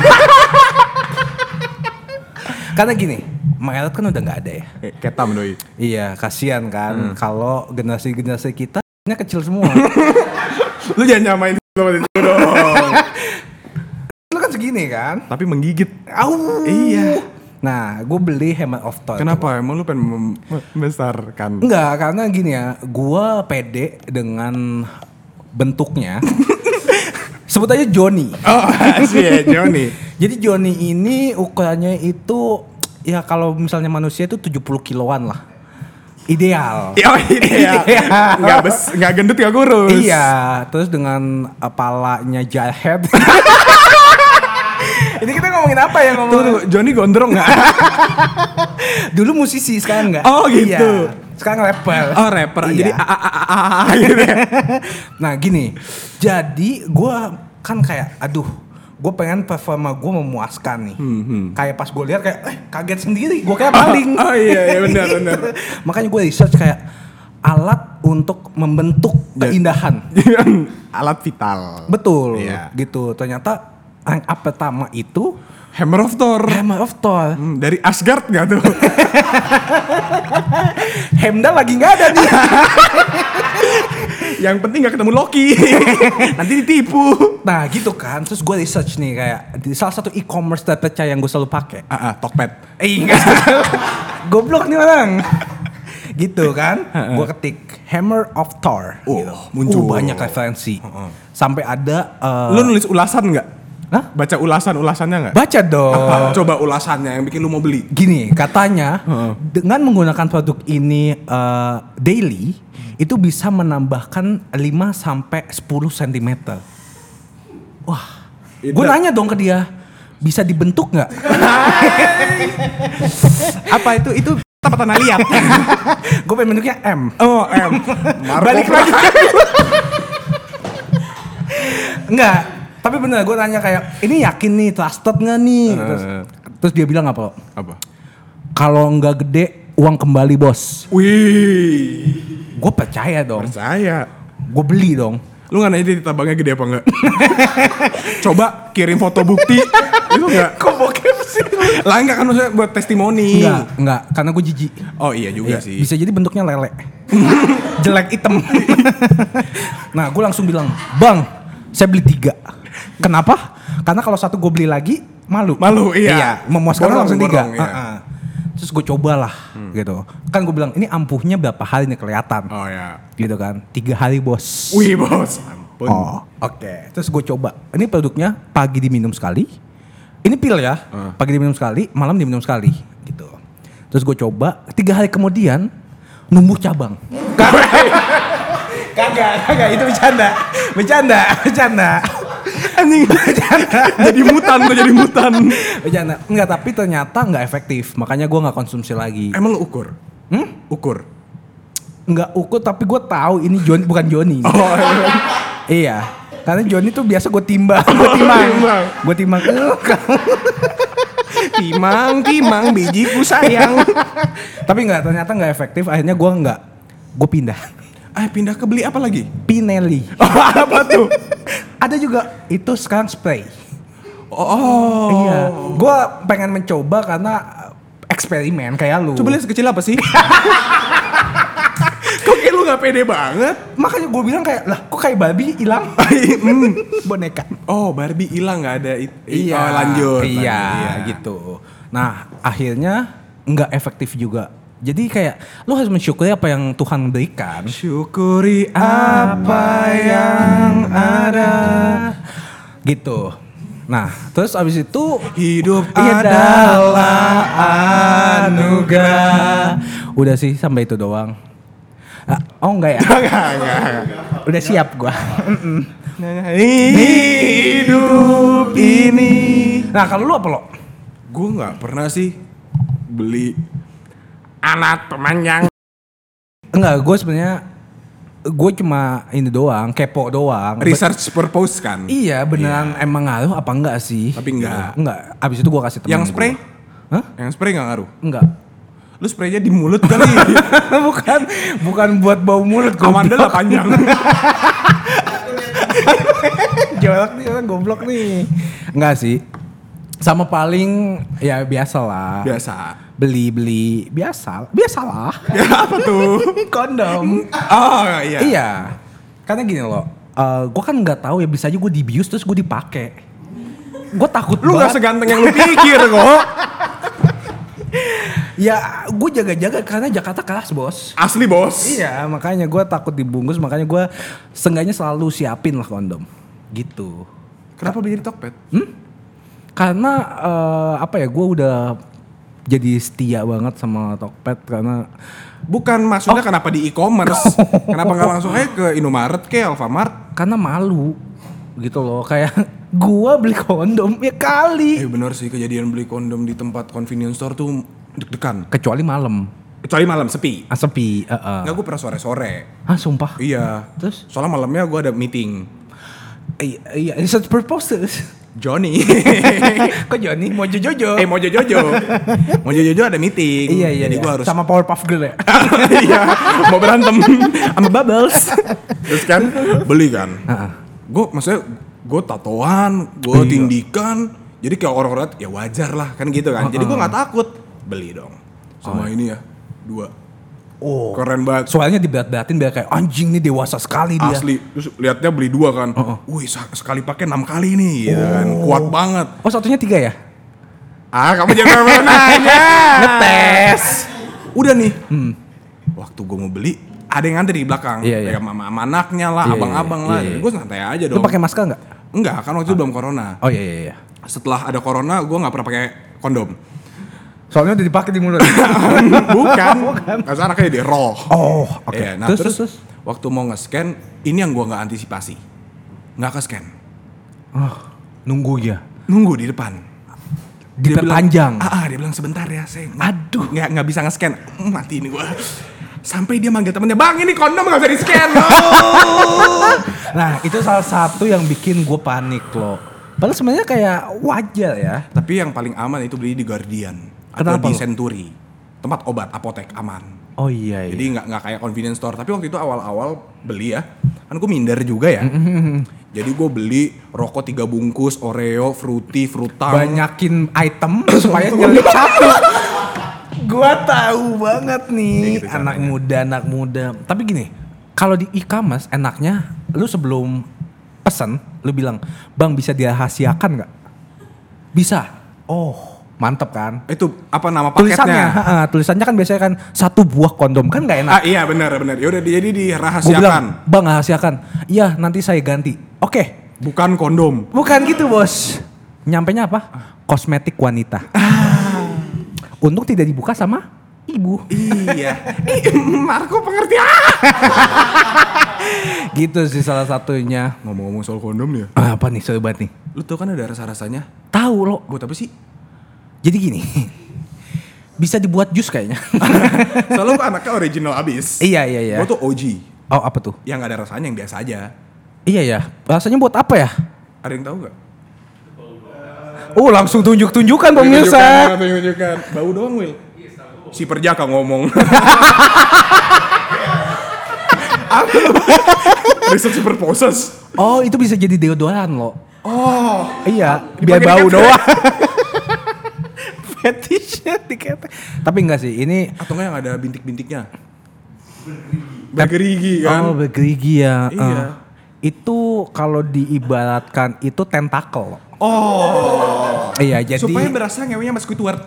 Speaker 4: Karena gini, Maret kan udah nggak ada ya.
Speaker 2: Eh, Ketam doi.
Speaker 4: Iya, kasihan kan kalau generasi-generasi kita nya kecil semua.
Speaker 2: Lu jangan nyamain sama itu dong.
Speaker 4: Lu kan segini kan?
Speaker 2: Tapi menggigit.
Speaker 4: Au.
Speaker 2: Iya.
Speaker 4: Nah, gue beli Hammer of Thor.
Speaker 2: Kenapa? Emang lu pengen mem- membesarkan?
Speaker 4: Enggak, karena gini ya, gua pede dengan bentuknya. Sebut aja Johnny.
Speaker 2: Oh, sih Johnny.
Speaker 4: Jadi Johnny ini ukurannya itu ya kalau misalnya manusia itu 70 kiloan lah. Ideal.
Speaker 2: Ya, ini ya.
Speaker 4: Iya.
Speaker 2: Nggak bes, nggak gendut, nggak kurus.
Speaker 4: Iya, terus dengan eh, palanya jahat. ini kita ngomongin apa ya
Speaker 2: Tuh, tuh, Johnny gondrong nggak?
Speaker 4: Dulu musisi, sekarang enggak.
Speaker 2: Oh, gitu.
Speaker 4: Iya. Sekarang rapper.
Speaker 2: Oh rapper.
Speaker 4: Iya.
Speaker 2: Jadi a a a a a gitu ya.
Speaker 4: nah gini, jadi gue kan kayak, aduh, gue pengen performa gue memuaskan nih. Kayak pas gue lihat kayak, eh kaget sendiri, gue kayak paling.
Speaker 2: Hmm, Oh, oh, iya, iya, benar, benar.
Speaker 4: Makanya gue research kayak alat untuk membentuk
Speaker 2: Iya.
Speaker 4: keindahan.
Speaker 2: Alat vital.
Speaker 4: Betul,
Speaker 2: Iya.
Speaker 4: gitu. Ternyata yang pertama itu
Speaker 2: Hammer of Thor.
Speaker 4: Hammer of Thor.
Speaker 2: Hmm, dari Asgard nggak tuh?
Speaker 4: Hemda lagi nggak ada nih.
Speaker 2: Yang penting gak ketemu Loki. Nanti ditipu.
Speaker 4: Nah gitu kan, terus gue research nih kayak di salah satu e-commerce terpercaya yang gue selalu pakai.
Speaker 2: Ah, ah, Tokped.
Speaker 4: Eh, enggak. goblok nih orang. gitu kan, gue ketik Hammer of Thor.
Speaker 2: Oh,
Speaker 4: gitu.
Speaker 2: muncul.
Speaker 4: Uh, banyak referensi. Sampai ada. eh,
Speaker 2: Lu nulis ulasan nggak?
Speaker 4: Hah?
Speaker 2: Baca ulasan-ulasannya nggak?
Speaker 4: baca dong.
Speaker 2: Coba ulasannya yang bikin lu mau beli.
Speaker 4: Gini katanya dengan menggunakan produk ini eh, daily itu bisa menambahkan 5 sampai 10 cm. Wah. Gue nanya dong ke dia, bisa dibentuk nggak?
Speaker 2: Apa itu? Itu apa tanah liat?
Speaker 4: Gue pengen bentuknya M.
Speaker 2: oh, em.
Speaker 4: Balik lagi. Enggak, tapi bener gue tanya kayak ini yakin nih trusted nggak nih? Terus, terus dia bilang apa?
Speaker 2: Apa?
Speaker 4: Kalau nggak gede uang kembali bos.
Speaker 2: Wih,
Speaker 4: Gue percaya dong.
Speaker 2: percaya.
Speaker 4: Gue beli dong.
Speaker 2: Lu nggak nanya dia tabangnya gede apa enggak? Coba kirim foto bukti. Itu enggak? Kok bokep sih? Lah enggak kan maksudnya buat testimoni.
Speaker 4: Enggak, enggak, karena gue jijik.
Speaker 2: Oh iya
Speaker 4: Iya,
Speaker 2: juga sih.
Speaker 4: Bisa jadi bentuknya lele. Jelek hitam. nah, gue langsung bilang, "Bang, saya beli tiga Kenapa? Karena kalau satu gue beli lagi malu.
Speaker 2: Malu, iya.
Speaker 4: memuaskan
Speaker 2: Borong,
Speaker 4: langsung tiga.
Speaker 2: borong, iya. Hmm.
Speaker 4: Heeh. Terus gue cobalah gitu. Kan gue bilang, "Ini ampuhnya berapa hari nih kelihatan?"
Speaker 2: Oh ya.
Speaker 4: Gitu kan. tiga hari, Bos.
Speaker 2: Wih, bos. Ampun.
Speaker 4: Oh, oke. Terus gue coba. Ini produknya pagi diminum sekali. Ini pil ya.
Speaker 2: Ah.
Speaker 4: Pagi diminum sekali, malam diminum sekali, gitu. Terus gue coba. Tiga hari kemudian numbuh cabang.
Speaker 3: Kagak, kagak itu bercanda.
Speaker 4: Bercanda, bercanda,
Speaker 2: Anjing. jadi mutan tuh jadi mutan.
Speaker 4: bercanda. Enggak, tapi ternyata nggak efektif. Makanya gue nggak konsumsi lagi.
Speaker 2: Emang lu ukur?
Speaker 4: Hmm?
Speaker 2: Ukur.
Speaker 4: Nggak ukur, tapi gue tahu ini Joni bukan Joni.
Speaker 2: Oh, iya.
Speaker 4: Iya. Karena Joni tuh biasa gue timbang, gue timbang,
Speaker 2: Oh, timbang.
Speaker 4: gue timbang. Eh,
Speaker 2: timang, timang bijiku sayang.
Speaker 4: tapi nggak, ternyata nggak efektif. Akhirnya gue nggak, gue pindah.
Speaker 2: Ah, pindah ke beli apa lagi?
Speaker 4: Pinelli.
Speaker 2: Oh, apa tuh?
Speaker 4: Ada juga itu sekarang spray.
Speaker 2: Oh.
Speaker 4: Iya. Gua pengen mencoba karena eh, eksperimen kayak lu.
Speaker 2: Coba lihat sekecil apa sih? Kok kayak lu gak pede banget?
Speaker 4: Makanya gue bilang kayak lah kok kayak babi hilang. Hmm, Boneka.
Speaker 2: Oh, Barbie hilang nggak ada it-
Speaker 4: Iya.
Speaker 2: oh, lanjut.
Speaker 4: Iya,
Speaker 2: lanjut, iya.
Speaker 4: gitu. Nah, akhirnya nggak efektif juga. Jadi kayak lu harus mensyukuri apa yang Tuhan berikan.
Speaker 2: Syukuri
Speaker 4: apa yang ada. Gitu. Nah, terus abis itu Iya,
Speaker 2: hidup
Speaker 4: adalah anugerah. Udah sih sampai itu doang. Ah, oh enggak ya? Udah siap gua.
Speaker 2: hidup ini.
Speaker 4: nah, kalau lu apa lo?
Speaker 2: Gue nggak pernah sih beli anak pemanjang.
Speaker 4: Enggak, gue sebenarnya gue cuma ini doang, kepo doang. Be-
Speaker 2: Research purpose kan?
Speaker 4: iya, beneran emang ngaruh apa enggak sih? Iya,
Speaker 2: Tapi enggak.
Speaker 4: Enggak. Abis itu gua kasih temen
Speaker 2: Yang spray?
Speaker 4: gua. Hah?
Speaker 2: Yang spray nggak ngaruh.
Speaker 4: Enggak.
Speaker 2: Lu spraynya di mulut kali.
Speaker 4: bukan bukan buat bau mulut
Speaker 2: Amanda lah
Speaker 4: goblok.
Speaker 2: panjang.
Speaker 4: Jorok nih orang goblok nih. Enggak sih. Sama paling ya biasa lah.
Speaker 2: Biasa.
Speaker 4: Beli-beli biasa. Biasalah.
Speaker 2: Ya, apa tuh?
Speaker 4: Kondom.
Speaker 2: Oh iya.
Speaker 4: Iya. Karena gini loh. eh gue kan nggak tahu ya bisa aja gue dibius terus gue dipakai. Gue takut
Speaker 2: Lu nggak
Speaker 4: banget.
Speaker 2: seganteng yang lu pikir kok.
Speaker 4: ya gue jaga-jaga karena Jakarta keras bos.
Speaker 2: Asli bos.
Speaker 4: Iya makanya gue takut dibungkus makanya gue seenggaknya selalu siapin lah kondom. Gitu.
Speaker 2: Kenapa beli di Tokped?
Speaker 4: karena eh, apa ya gue udah jadi setia banget sama Tokped karena
Speaker 2: Bukan
Speaker 4: Oh.
Speaker 2: maksudnya kenapa di e-commerce? kenapa nggak langsung aja ke Indomaret ke Alfamart?
Speaker 4: karena malu gitu loh kayak gua beli kondom ya kali
Speaker 2: Eh benar sih kejadian beli kondom di tempat convenience store tuh deg-degan.
Speaker 4: kecuali malam
Speaker 2: Kecuali malam sepi.
Speaker 4: ah, sepi eh, eh.
Speaker 2: Nggak gue pernah sore-sore.
Speaker 4: ah sumpah
Speaker 2: Iya.
Speaker 4: Terus?
Speaker 2: Soalnya malamnya gue ada meeting.
Speaker 4: iya iya research purposes
Speaker 2: Johnny.
Speaker 4: kok Joni mau jojojo
Speaker 2: eh Mojo Jojo. Mojo Jojo ada meeting.
Speaker 4: iya iya
Speaker 2: Jadi
Speaker 4: iya.
Speaker 2: gue harus
Speaker 4: sama Powerpuff Girl ya
Speaker 2: iya, mau berantem sama Bubbles. Terus kan beli kan.
Speaker 4: Heeh.
Speaker 2: Gue maksudnya gue tatoan, gue
Speaker 4: Iya.
Speaker 2: tindikan. Jadi kayak orang-orang liat, ya wajar lah kan gitu kan. Jadi gue nggak takut. Beli dong. Sama ini ya dua.
Speaker 4: iya. Oh.
Speaker 2: Keren banget.
Speaker 4: Soalnya dibelat-belatin biar kayak anjing nih dewasa sekali dia.
Speaker 2: Asli, terus liatnya beli dua kan. Wih, sa- sekali pakai enam kali nih, gitu kan. Kuat banget.
Speaker 4: Oh satunya tiga ya?
Speaker 2: Ah, kamu jangan pernah nanya.
Speaker 4: Ngetes. Hmm.
Speaker 2: Udah nih. Waktu gue mau beli, ada yang ngantri di belakang.
Speaker 4: Iya, iya.
Speaker 2: Kayak mama sama anaknya lah,
Speaker 4: Iya,
Speaker 2: abang-abang
Speaker 4: iya,
Speaker 2: lah.
Speaker 4: iya, iya.
Speaker 2: Gue santai aja
Speaker 4: Lu
Speaker 2: dong.
Speaker 4: pakai masker nggak?
Speaker 2: Enggak, kan waktu itu belum corona.
Speaker 4: Oh iya iya iya.
Speaker 2: Setelah ada corona, gue nggak pernah pakai kondom.
Speaker 4: Soalnya udah dipakai di mulut.
Speaker 2: Bukan. Karena kayak di roh.
Speaker 4: oh, oke.
Speaker 2: Iya, nah terus,
Speaker 4: terus, terus, terus.
Speaker 2: waktu mau nge-scan, ini yang gua nggak antisipasi. Nggak ke-scan.
Speaker 4: Nunggu ya.
Speaker 2: Nunggu di depan.
Speaker 4: Diperpanjang.
Speaker 2: Bilang, ah, ah, dia bilang sebentar ya, saya. Aduh, nggak nggak bisa nge-scan. Mm, Mati ini gua. Sampai dia manggil temennya, "Bang, ini kondom nggak bisa di-scan." Oh.
Speaker 4: Nah itu salah satu yang bikin gue panik loh. Padahal sebenarnya kayak wajar ya.
Speaker 2: Tapi yang paling aman itu beli di Guardian atau
Speaker 4: Kenapa
Speaker 2: di
Speaker 4: lu?
Speaker 2: Century. Tempat obat, apotek aman.
Speaker 4: Oh iya iya.
Speaker 2: Jadi nggak nggak kayak convenience store. Tapi waktu itu awal-awal beli ya, kan gue minder juga ya. Jadi gue beli rokok tiga bungkus, Oreo, fruity, frutang.
Speaker 4: banyakin item supaya nyelip satu. Gua tahu banget nih anak muda anak muda. Tapi gini, kalau di e-commerce enaknya lu sebelum pesan lu bilang, "Bang bisa dirahasiakan nggak?" Bisa. Oh, mantep kan?
Speaker 2: Itu apa nama
Speaker 4: Tulisannya,
Speaker 2: paketnya?
Speaker 4: ha-ha, tulisannya kan biasanya kan satu buah kondom kan nggak enak.
Speaker 2: Ah iya benar benar. Ya udah jadi
Speaker 4: Gua bilang,
Speaker 2: dirahasiakan.
Speaker 4: "Bang, rahasiakan." Iya, nanti saya ganti. Oke.
Speaker 2: Bukan kondom.
Speaker 4: Bukan gitu bos. Nyampenya apa? Kosmetik wanita. Ah. Untung tidak dibuka sama ibu.
Speaker 2: iya. Ih, Marco pengertian.
Speaker 4: Gitu sih salah satunya.
Speaker 2: Ngomong-ngomong soal kondom nih ya.
Speaker 4: Ah, Apa nih sorry banget nih?
Speaker 2: Lu tau kan ada rasa-rasanya?
Speaker 4: Tahu lo.
Speaker 2: Buat apa sih?
Speaker 4: Jadi gini. Bisa dibuat jus kayaknya.
Speaker 2: Soalnya gue anaknya original abis.
Speaker 4: iya iya iya.
Speaker 2: Gue tuh OG.
Speaker 4: Oh apa tuh?
Speaker 2: Yang gak ada rasanya yang biasa aja.
Speaker 4: Iya ya. Rasanya buat apa ya?
Speaker 2: Ada yang tahu nggak?
Speaker 4: Oh langsung tunjuk-tunjukkan pemirsa.
Speaker 2: Tunjukkan, tunjukkan. Bau doang, Will. Si perjaka ngomong. Apa? Riset super poses.
Speaker 4: Oh itu bisa jadi deodoran lo.
Speaker 2: Oh,
Speaker 4: Iya.
Speaker 2: Dipakai
Speaker 4: Biar
Speaker 2: di
Speaker 4: bau
Speaker 2: ketek.
Speaker 4: doang. Fetishnya diketek. Tapi enggak sih ini
Speaker 2: atau nggak yang ada bintik-bintiknya? Bergerigi
Speaker 4: Oh
Speaker 2: kan?
Speaker 4: bergerigi ya.
Speaker 2: Iya.
Speaker 4: eh. itu kalau diibaratkan itu tentakel. Oh. Iya jadi
Speaker 2: Supaya berasa ngewenya mas Squidward.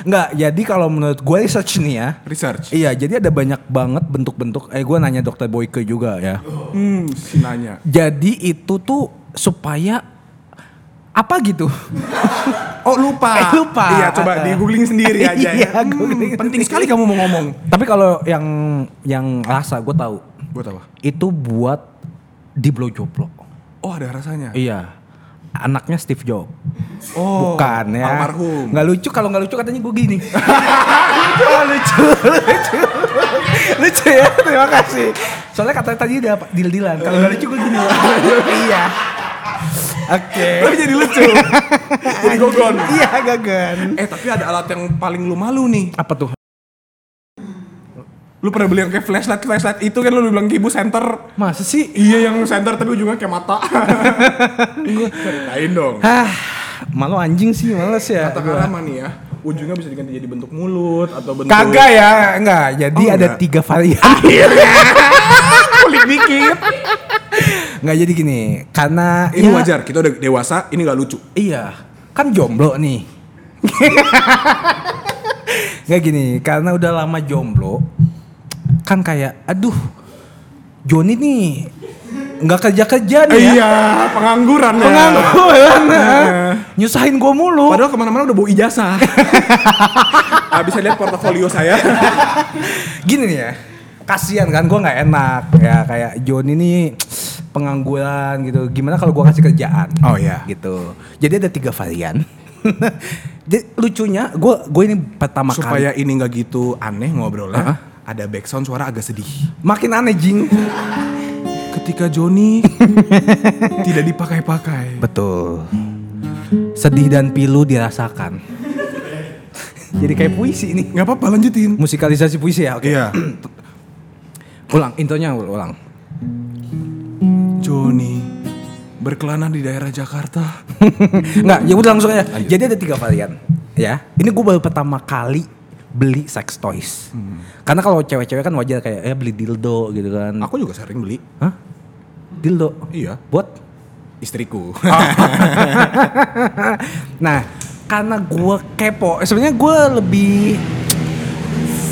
Speaker 4: nggak jadi kalau menurut gue research nih ya.
Speaker 2: Research.
Speaker 4: Iya jadi ada banyak banget bentuk-bentuk. Eh gue nanya dokter Boyke juga ya.
Speaker 2: Hmm, si nanya.
Speaker 4: Jadi itu tuh supaya apa gitu?
Speaker 2: Oh lupa.
Speaker 4: Eh, lupa.
Speaker 2: Iya coba di googling sendiri aja. ya.
Speaker 4: Iya,
Speaker 2: Hmm,
Speaker 4: googling sendiri.
Speaker 2: penting sekali kamu mau ngomong.
Speaker 4: Tapi kalau yang yang rasa gue tahu
Speaker 2: Buat apa?
Speaker 4: itu buat di blowjob lo.
Speaker 2: Oh ada rasanya.
Speaker 4: Iya. Anaknya Steve Jobs.
Speaker 2: Oh.
Speaker 4: Bukan ya.
Speaker 2: Almarhum.
Speaker 4: Nggak lucu kalau nggak lucu katanya gue gini. lucu, Oh, lucu, lucu. lucu ya, terima kasih. Soalnya katanya tadi udah deal-dealan. Kalau nggak lucu gue gini. iya. Oke.
Speaker 2: Tapi jadi lucu. jadi gogon.
Speaker 4: Iya, gagan.
Speaker 2: Eh tapi ada alat yang paling lu malu nih.
Speaker 4: Apa tuh?
Speaker 2: Lu pernah beli yang kayak flashlight flashlight itu kan lu bilang ibu center.
Speaker 4: Masa sih?
Speaker 2: Iya yang center tapi ujungnya kayak mata. Ceritain dong.
Speaker 4: Hah, Ah, malu anjing sih, males ya.
Speaker 2: Kata
Speaker 4: Gua.
Speaker 2: Karama nih ya, ujungnya bisa diganti jadi bentuk mulut atau bentuk
Speaker 4: Kagak ya, enggak. Jadi
Speaker 2: Oh, Ah, iya.
Speaker 4: ada
Speaker 2: enggak.
Speaker 4: tiga varian.
Speaker 2: kulit dikit.
Speaker 4: Enggak jadi gini, karena ya,
Speaker 2: Ini wajar, kita udah dewasa, ini gak lucu.
Speaker 4: Iya, kan jomblo nih. Nggak gini, karena udah lama jomblo, kan kayak, aduh, Joni nih nggak kerja kerja nih ya,
Speaker 2: Iya, pengangguran ya.
Speaker 4: pengangguran, ah. nyusahin gue mulu.
Speaker 2: Padahal kemana-mana udah bawa ijazah. ah, bisa lihat portofolio saya.
Speaker 4: gini nih ya kasihan kan gue nggak enak ya kayak John ini pengangguran gitu gimana kalau gue kasih kerjaan
Speaker 2: Oh, iya.
Speaker 4: gitu jadi ada tiga varian jadi lucunya gue gue ini pertama
Speaker 2: Supaya
Speaker 4: kali
Speaker 2: ini nggak gitu aneh ngobrolnya, ada background suara agak sedih.
Speaker 4: makin aneh jing
Speaker 2: Ketika Joni tidak dipakai-pakai.
Speaker 4: betul sedih dan pilu dirasakan jadi kayak puisi ini
Speaker 2: Nggak apa-apa lanjutin.
Speaker 4: musikalisasi puisi ya oke
Speaker 2: Iya.
Speaker 4: ulang intronya ul- ulang
Speaker 2: Joni berkelana di daerah Jakarta.
Speaker 4: Nggak, ya udah langsung aja. Jadi ada tiga varian, ya. Ini gue baru pertama kali beli sex toys.
Speaker 2: Hmm.
Speaker 4: Karena kalau cewek-cewek kan wajar kayak eh beli dildo gitu kan.
Speaker 2: Aku juga sering beli.
Speaker 4: Hah? Dildo.
Speaker 2: Iya. Oh,
Speaker 4: Buat
Speaker 2: Istriku.
Speaker 4: nah karena gue kepo eh, sebenarnya gue lebih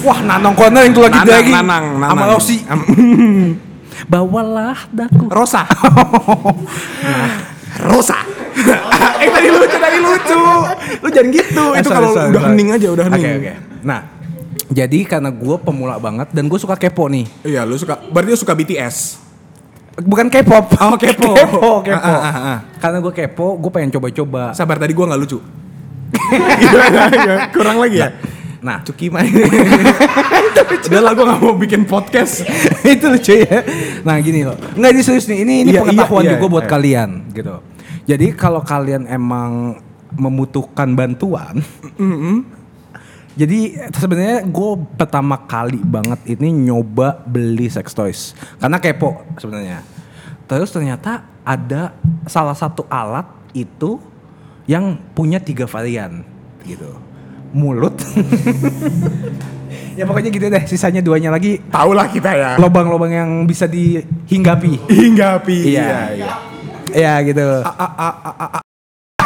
Speaker 4: wah nanong corner yang tuh lagi
Speaker 2: Nanang,
Speaker 4: lagi
Speaker 2: nanang, nanang.
Speaker 4: sama Rosi bawalah daku
Speaker 2: Rosa. Rosa. eh tadi lucu, tadi lucu. Lu jangan gitu.
Speaker 4: Eh,
Speaker 2: Itu kalau udah hening aja, udah hening.
Speaker 4: oke oke nah jadi karena gue pemula banget dan gue suka kepo nih
Speaker 2: Iya, lu suka. Berarti lu suka BTS.
Speaker 4: bukan K-pop
Speaker 2: Oh, kepo.
Speaker 4: kepo kepo
Speaker 2: Ah, ah, ah, ah.
Speaker 4: karena gue kepo gue pengen coba-coba
Speaker 2: Sabar tadi gua nggak lucu. Gimana ya? Kurang lagi ya.
Speaker 4: nah
Speaker 2: Cuki main. Udah lah gue gak mau bikin podcast.
Speaker 4: itu lucu ya. Nah gini loh, nggak ini serius nih. Ini ini
Speaker 2: Iya, iya,
Speaker 4: pengetahuan
Speaker 2: iya,
Speaker 4: juga buat
Speaker 2: iya.
Speaker 4: kalian gitu. Jadi kalau kalian emang membutuhkan bantuan, jadi sebenarnya gue pertama kali banget ini nyoba beli sex toys karena kepo sebenarnya. Terus ternyata ada salah satu alat itu yang punya tiga varian gitu, mulut. ya pokoknya gitu deh. Sisanya duanya lagi
Speaker 2: Tahu lah kita ya.
Speaker 4: lobang-lobang yang bisa dihinggapi.
Speaker 2: Hinggapi.
Speaker 4: Iya. Iya gitu.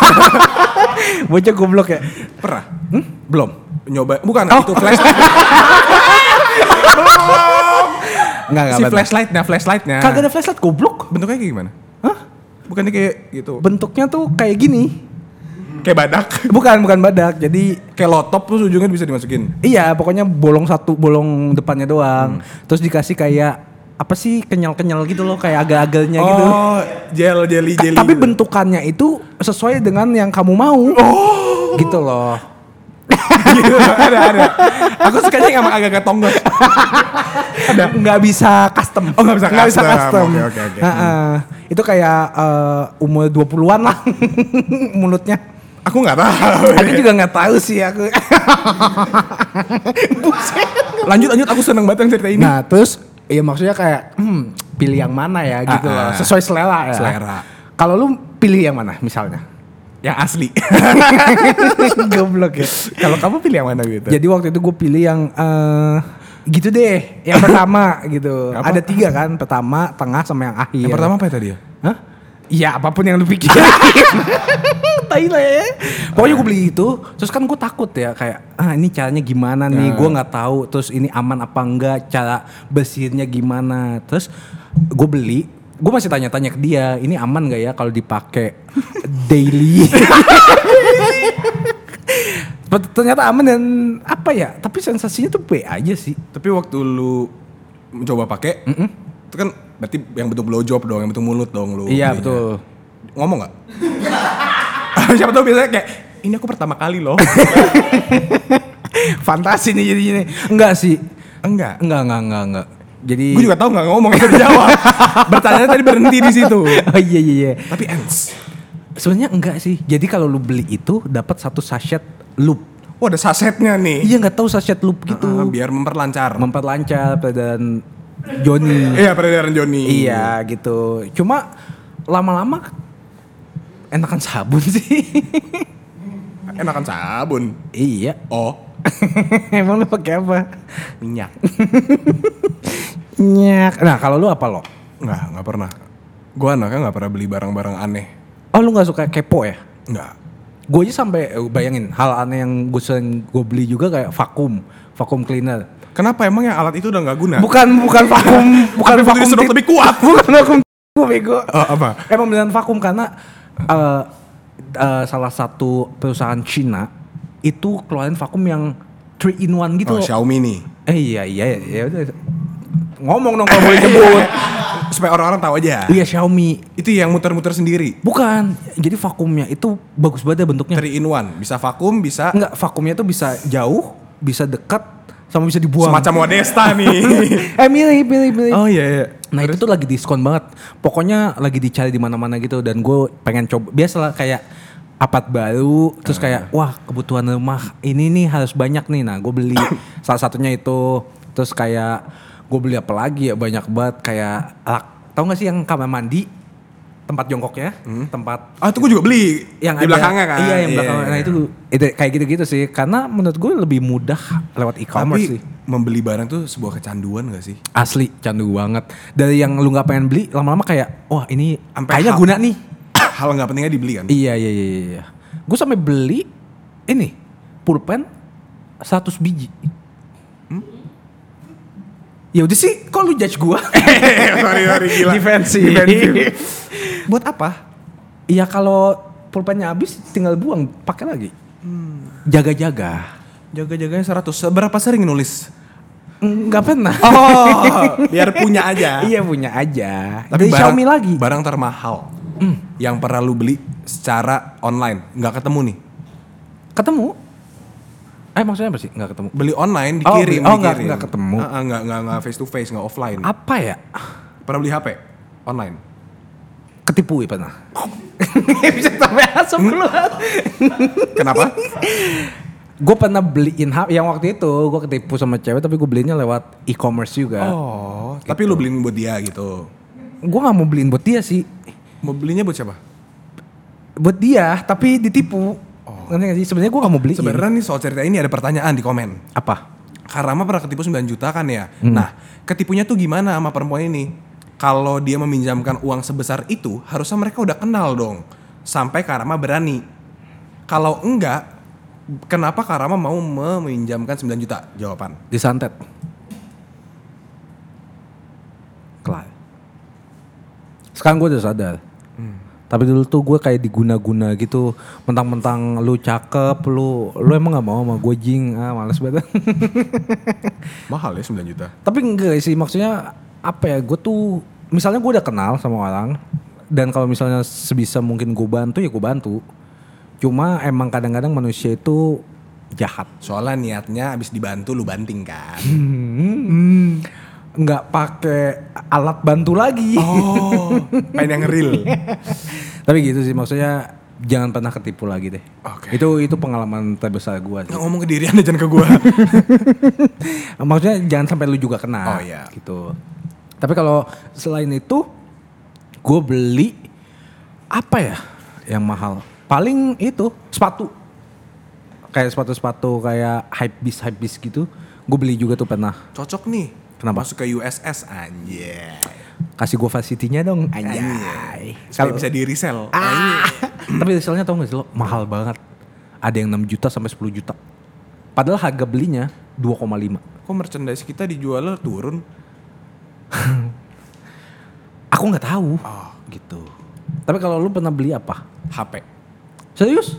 Speaker 4: Bocah goblok ya?
Speaker 2: Pernah
Speaker 4: Hmm? Belum.
Speaker 2: nyoba bukan
Speaker 4: Oh,
Speaker 2: itu flash
Speaker 4: Enggak enggak.
Speaker 2: si
Speaker 4: bentar.
Speaker 2: flashlightnya flashlightnya
Speaker 4: Kagak ada flashlight goblok.
Speaker 2: bentuknya kayak gimana
Speaker 4: Hah?
Speaker 2: bukannya kayak gitu
Speaker 4: Bentuknya tuh kayak gini.
Speaker 2: kayak badak
Speaker 4: Bukan, bukan badak. Jadi
Speaker 2: kayak lotop terus ujungnya bisa dimasukin
Speaker 4: iya, pokoknya bolong satu, bolong depannya doang. Terus dikasih kayak apa sih kenyal-kenyal gitu loh, kayak agak-agaknya gitu.
Speaker 2: oh gel jelly
Speaker 4: Ka-
Speaker 2: jelly
Speaker 4: tapi
Speaker 2: gitu.
Speaker 4: bentukannya itu sesuai dengan yang kamu mau. Gitu loh.
Speaker 2: Gitu. ada ada aku sukanya yang sama agak-agak tonggos
Speaker 4: nggak bisa custom.
Speaker 2: Oh, nggak bisa custom.
Speaker 4: custom.
Speaker 2: Oke, oke, oke.
Speaker 4: Ha-ha. Itu kayak eh, umur 20-an lah mulutnya.
Speaker 2: aku nggak tahu
Speaker 4: Aku juga nggak tahu sih aku.
Speaker 2: lanjut lanjut aku seneng banget yang cerita ini
Speaker 4: nah, terus ya maksudnya kayak hmm, pilih yang mana ya gitu
Speaker 2: Ah,
Speaker 4: loh,
Speaker 2: ah.
Speaker 4: sesuai selera ya.
Speaker 2: Selera.
Speaker 4: Kalau lu pilih yang mana misalnya?
Speaker 2: yang asli
Speaker 4: Goblok ya.
Speaker 2: kalau kamu pilih yang mana gitu
Speaker 4: Jadi waktu itu gue pilih yang eh, gitu deh, yang pertama gitu.
Speaker 2: Apa?
Speaker 4: Ada tiga kan, pertama, tengah, sama yang akhir.
Speaker 2: yang pertama apa ya tadi ya
Speaker 4: Hah? Ya apapun yang lu pikir. Tai lah ya. Pokoknya gue beli itu, terus kan gue takut ya kayak ah ini caranya gimana nih, gue nggak tahu, terus ini aman apa enggak, cara bersihinnya gimana, terus gue beli, gue masih tanya-tanya ke dia, ini aman gak ya kalau dipakai daily? Ternyata aman dan apa ya? Tapi sensasinya tuh B aja sih.
Speaker 2: tapi waktu lu mencoba pakai itu kan berarti yang bentuk blowjob dong yang bentuk mulut dong lu
Speaker 4: Iya
Speaker 2: belinya.
Speaker 4: betul.
Speaker 2: ngomong nggak? Siapa tahu biasanya kayak ini aku pertama kali loh.
Speaker 4: Fantasi nih jadinya. nih. Enggak sih.
Speaker 2: Enggak.
Speaker 4: Enggak, enggak, enggak, enggak. Jadi
Speaker 2: Gue juga tahu nggak ngomong itu dijawab. Bertanya tadi berhenti di situ.
Speaker 4: Oh iya iya iya.
Speaker 2: Tapi ends.
Speaker 4: Sebenarnya enggak sih. Jadi kalau lu beli itu dapat satu sachet loop.
Speaker 2: Wah oh, ada sasetnya nih.
Speaker 4: Iya nggak tahu sachet loop gitu.
Speaker 2: Ah, biar memperlancar.
Speaker 4: Memperlancar peredaran Joni.
Speaker 2: iya peredaran Joni.
Speaker 4: iya gitu. Cuma lama-lama enakan sabun sih.
Speaker 2: Enakan sabun.
Speaker 4: iya.
Speaker 2: Oh.
Speaker 4: Emang lu pakai apa?
Speaker 2: Minyak.
Speaker 4: Nyak. Nah kalau lu apa lo?
Speaker 2: Enggak, enggak pernah. Gue anaknya nggak pernah beli barang-barang aneh.
Speaker 4: Oh lu nggak suka kepo ya?
Speaker 2: Enggak.
Speaker 4: Gue aja sampai eh, bayangin hal aneh yang gue sering gue beli juga kayak vakum, vakum cleaner.
Speaker 2: Kenapa emang yang alat itu udah nggak guna?
Speaker 4: Bukan bukan vakum, bukan
Speaker 2: Tapi butuh
Speaker 4: vakum
Speaker 2: disedot
Speaker 4: tit-
Speaker 2: lebih kuat.
Speaker 4: Bukan vakum gue bego.
Speaker 2: Oh, apa?
Speaker 4: Emang beneran Eh, vakum karena eh, eh, salah satu perusahaan Cina itu keluarin vakum yang 3 in 1 gitu
Speaker 2: Oh,
Speaker 4: loh.
Speaker 2: Xiaomi nih.
Speaker 4: Eh iya iya iya iya, udah. Ngomong dong kalau boleh nyebut.
Speaker 2: Supaya orang-orang tahu aja.
Speaker 4: Iya Xiaomi.
Speaker 2: Itu yang muter-muter sendiri.
Speaker 4: Bukan. Jadi vakumnya itu bagus banget ya bentuknya.
Speaker 2: 3 in 1. Bisa vakum, bisa
Speaker 4: Enggak, vakumnya tuh bisa jauh, bisa dekat, sama bisa dibuang.
Speaker 2: semacam Modesta nih.
Speaker 4: eh milih milih milih.
Speaker 2: Oh iya iya.
Speaker 4: Nah itu tuh lagi diskon banget. Pokoknya lagi dicari di mana-mana gitu dan gue pengen coba. Biasalah kayak apart baru terus
Speaker 2: Ah.
Speaker 4: kayak wah kebutuhan rumah ini nih harus banyak nih. Nah gue beli salah satunya itu terus kayak gue beli apa lagi ya banyak banget kayak rak. Tahu gak sih yang kamar mandi tempat jongkoknya, tempat oh,
Speaker 2: Ah itu gue juga beli
Speaker 4: yang
Speaker 2: di
Speaker 4: ada-
Speaker 2: belakangnya kan.
Speaker 4: Iya, yang belakangnya. Nah, itu itu kayak gitu-gitu sih. Karena menurut gue lebih mudah lewat
Speaker 2: Tapi
Speaker 4: e-commerce sih.
Speaker 2: membeli barang tuh sebuah kecanduan gak sih?
Speaker 4: Asli candu banget. Dari yang lu nggak pengen beli lama-lama kayak wah ini
Speaker 2: Sampai
Speaker 4: kayaknya
Speaker 2: hal-
Speaker 4: guna nih.
Speaker 2: Hal nggak pentingnya dibeli kan?
Speaker 4: Iya iya iya iya, iya. Gue sampai beli ini pulpen 100 biji. Hmm? Ya udah sih, kok lu judge gua?
Speaker 2: sorry, sorry, gila.
Speaker 4: Defensif.
Speaker 2: Defensif.
Speaker 4: Buat apa? Ya kalau pulpennya habis tinggal buang, pakai lagi.
Speaker 2: Hmm.
Speaker 4: Jaga-jaga.
Speaker 2: Jaga-jaganya 100. Berapa sering nulis?
Speaker 4: Enggak pernah.
Speaker 2: Oh, biar punya aja.
Speaker 4: iya punya aja.
Speaker 2: Tapi
Speaker 4: Dari
Speaker 2: barang,
Speaker 4: Xiaomi lagi. Hmm.
Speaker 2: Barang termahal yang pernah lu beli secara online nggak ketemu nih.
Speaker 4: ketemu. Eh maksudnya apa sih? Enggak ketemu.
Speaker 2: Beli online
Speaker 4: Oh,
Speaker 2: dikirim,
Speaker 4: beli- oh, nggak-
Speaker 2: dikirim.
Speaker 4: nggak ketemu.
Speaker 2: Ah, ah, nggak nggak nggak face to face nggak offline.
Speaker 4: Apa ya?
Speaker 2: Pernah beli HP online.
Speaker 4: Ketipu ya pernah. Bisa sampai asap keluar.
Speaker 2: Kenapa?
Speaker 4: gue pernah beliin HP yang waktu itu gue ketipu sama cewek tapi gue belinya lewat e-commerce juga.
Speaker 2: oh, tapi lu beliin buat dia gitu.
Speaker 4: Gue nggak mau beliin buat dia sih,
Speaker 2: Mau belinya buat siapa?
Speaker 4: buat dia tapi ditipu. Ngerti nggak sih? Oh. Sebenarnya gue nggak mau beliin.
Speaker 2: Sebenarnya nih soal cerita ini ada pertanyaan di komen.
Speaker 4: apa?
Speaker 2: Karama pernah ketipu 9 juta kan ya. Nah, ketipunya tuh gimana sama perempuan ini? Kalau dia meminjamkan uang sebesar itu, harusnya mereka udah kenal dong. Sampai Karama berani. Kalau enggak, kenapa Karama mau meminjamkan 9 juta? Jawaban.
Speaker 4: Disantet. Kelar. Sekarang gue udah sadar. Tapi dulu tuh gue kayak diguna-guna gitu, mentang-mentang lu cakep, lu lu emang nggak mau sama gue jing, ah males banget.
Speaker 2: Mahal ya 9 juta.
Speaker 4: Tapi enggak sih maksudnya apa ya? Gue tuh misalnya gue udah kenal sama orang dan kalau misalnya sebisa mungkin gue bantu ya gue bantu. Cuma emang kadang-kadang manusia itu jahat.
Speaker 2: Soalnya niatnya abis dibantu lu banting kan.
Speaker 4: Enggak pakai alat bantu lagi.
Speaker 2: Oh, main yang real.
Speaker 4: Tapi gitu sih maksudnya jangan pernah ketipu lagi deh.
Speaker 2: Oke. Oh.
Speaker 4: Itu itu pengalaman terbesar gue.
Speaker 2: Nggak ngomong ke diri anda jangan ke gua.
Speaker 4: Ah, Maksudnya jangan sampai lu juga kena.
Speaker 2: Oh, iya.
Speaker 4: Gitu. Tapi kalau selain itu, gue beli apa ya yang mahal? Paling itu sepatu. Kayak sepatu-sepatu kayak hype bis hype bis gitu. Gue beli juga tuh pernah.
Speaker 2: Cocok nih.
Speaker 4: Kenapa?
Speaker 2: Masuk ke USS anjir.
Speaker 4: Kasih gue facility-nya dong.
Speaker 2: Anjay.
Speaker 4: Anjay.
Speaker 2: Supaya bisa di resell.
Speaker 4: Ah. Tapi resellnya tau gak sih lo mahal banget. Ada yang 6 juta sampai 10 juta. Padahal harga belinya 2,5.
Speaker 2: Kok merchandise kita dijualnya turun?
Speaker 4: Aku nggak tahu. gitu. Tapi kalau lu pernah beli apa?
Speaker 2: HP.
Speaker 4: Serius?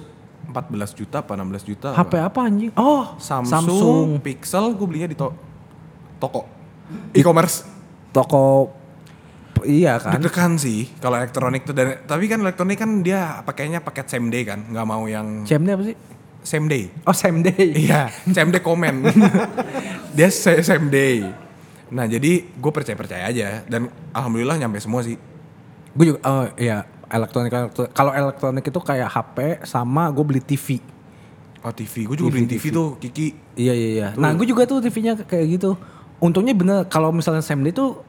Speaker 2: 14 juta apa 16 juta
Speaker 4: HP
Speaker 2: apa?
Speaker 4: apa anjing? Oh,
Speaker 2: Samsung,
Speaker 4: Samsung.
Speaker 2: Pixel gue belinya di to- toko e-commerce
Speaker 4: Toko iya kan?
Speaker 2: deg-degan sih kalau elektronik tuh dan tapi kan elektronik kan dia pakainya paket same day kan nggak mau yang
Speaker 4: CMD apa sih?
Speaker 2: same day
Speaker 4: Oh, same day.
Speaker 2: iya same day komen dia sa- same day nah jadi gue percaya percaya aja dan alhamdulillah nyampe semua sih
Speaker 4: Gue juga oh iya, elektronik. elektronik. Kalau elektronik itu kayak HP sama gue beli TV.
Speaker 2: oh TV gue juga beliin TV, tuh Kiki
Speaker 4: Iya iya iya. Nah, gue juga tuh TV-nya kayak gitu. Untungnya bener kalau misalnya same day tuh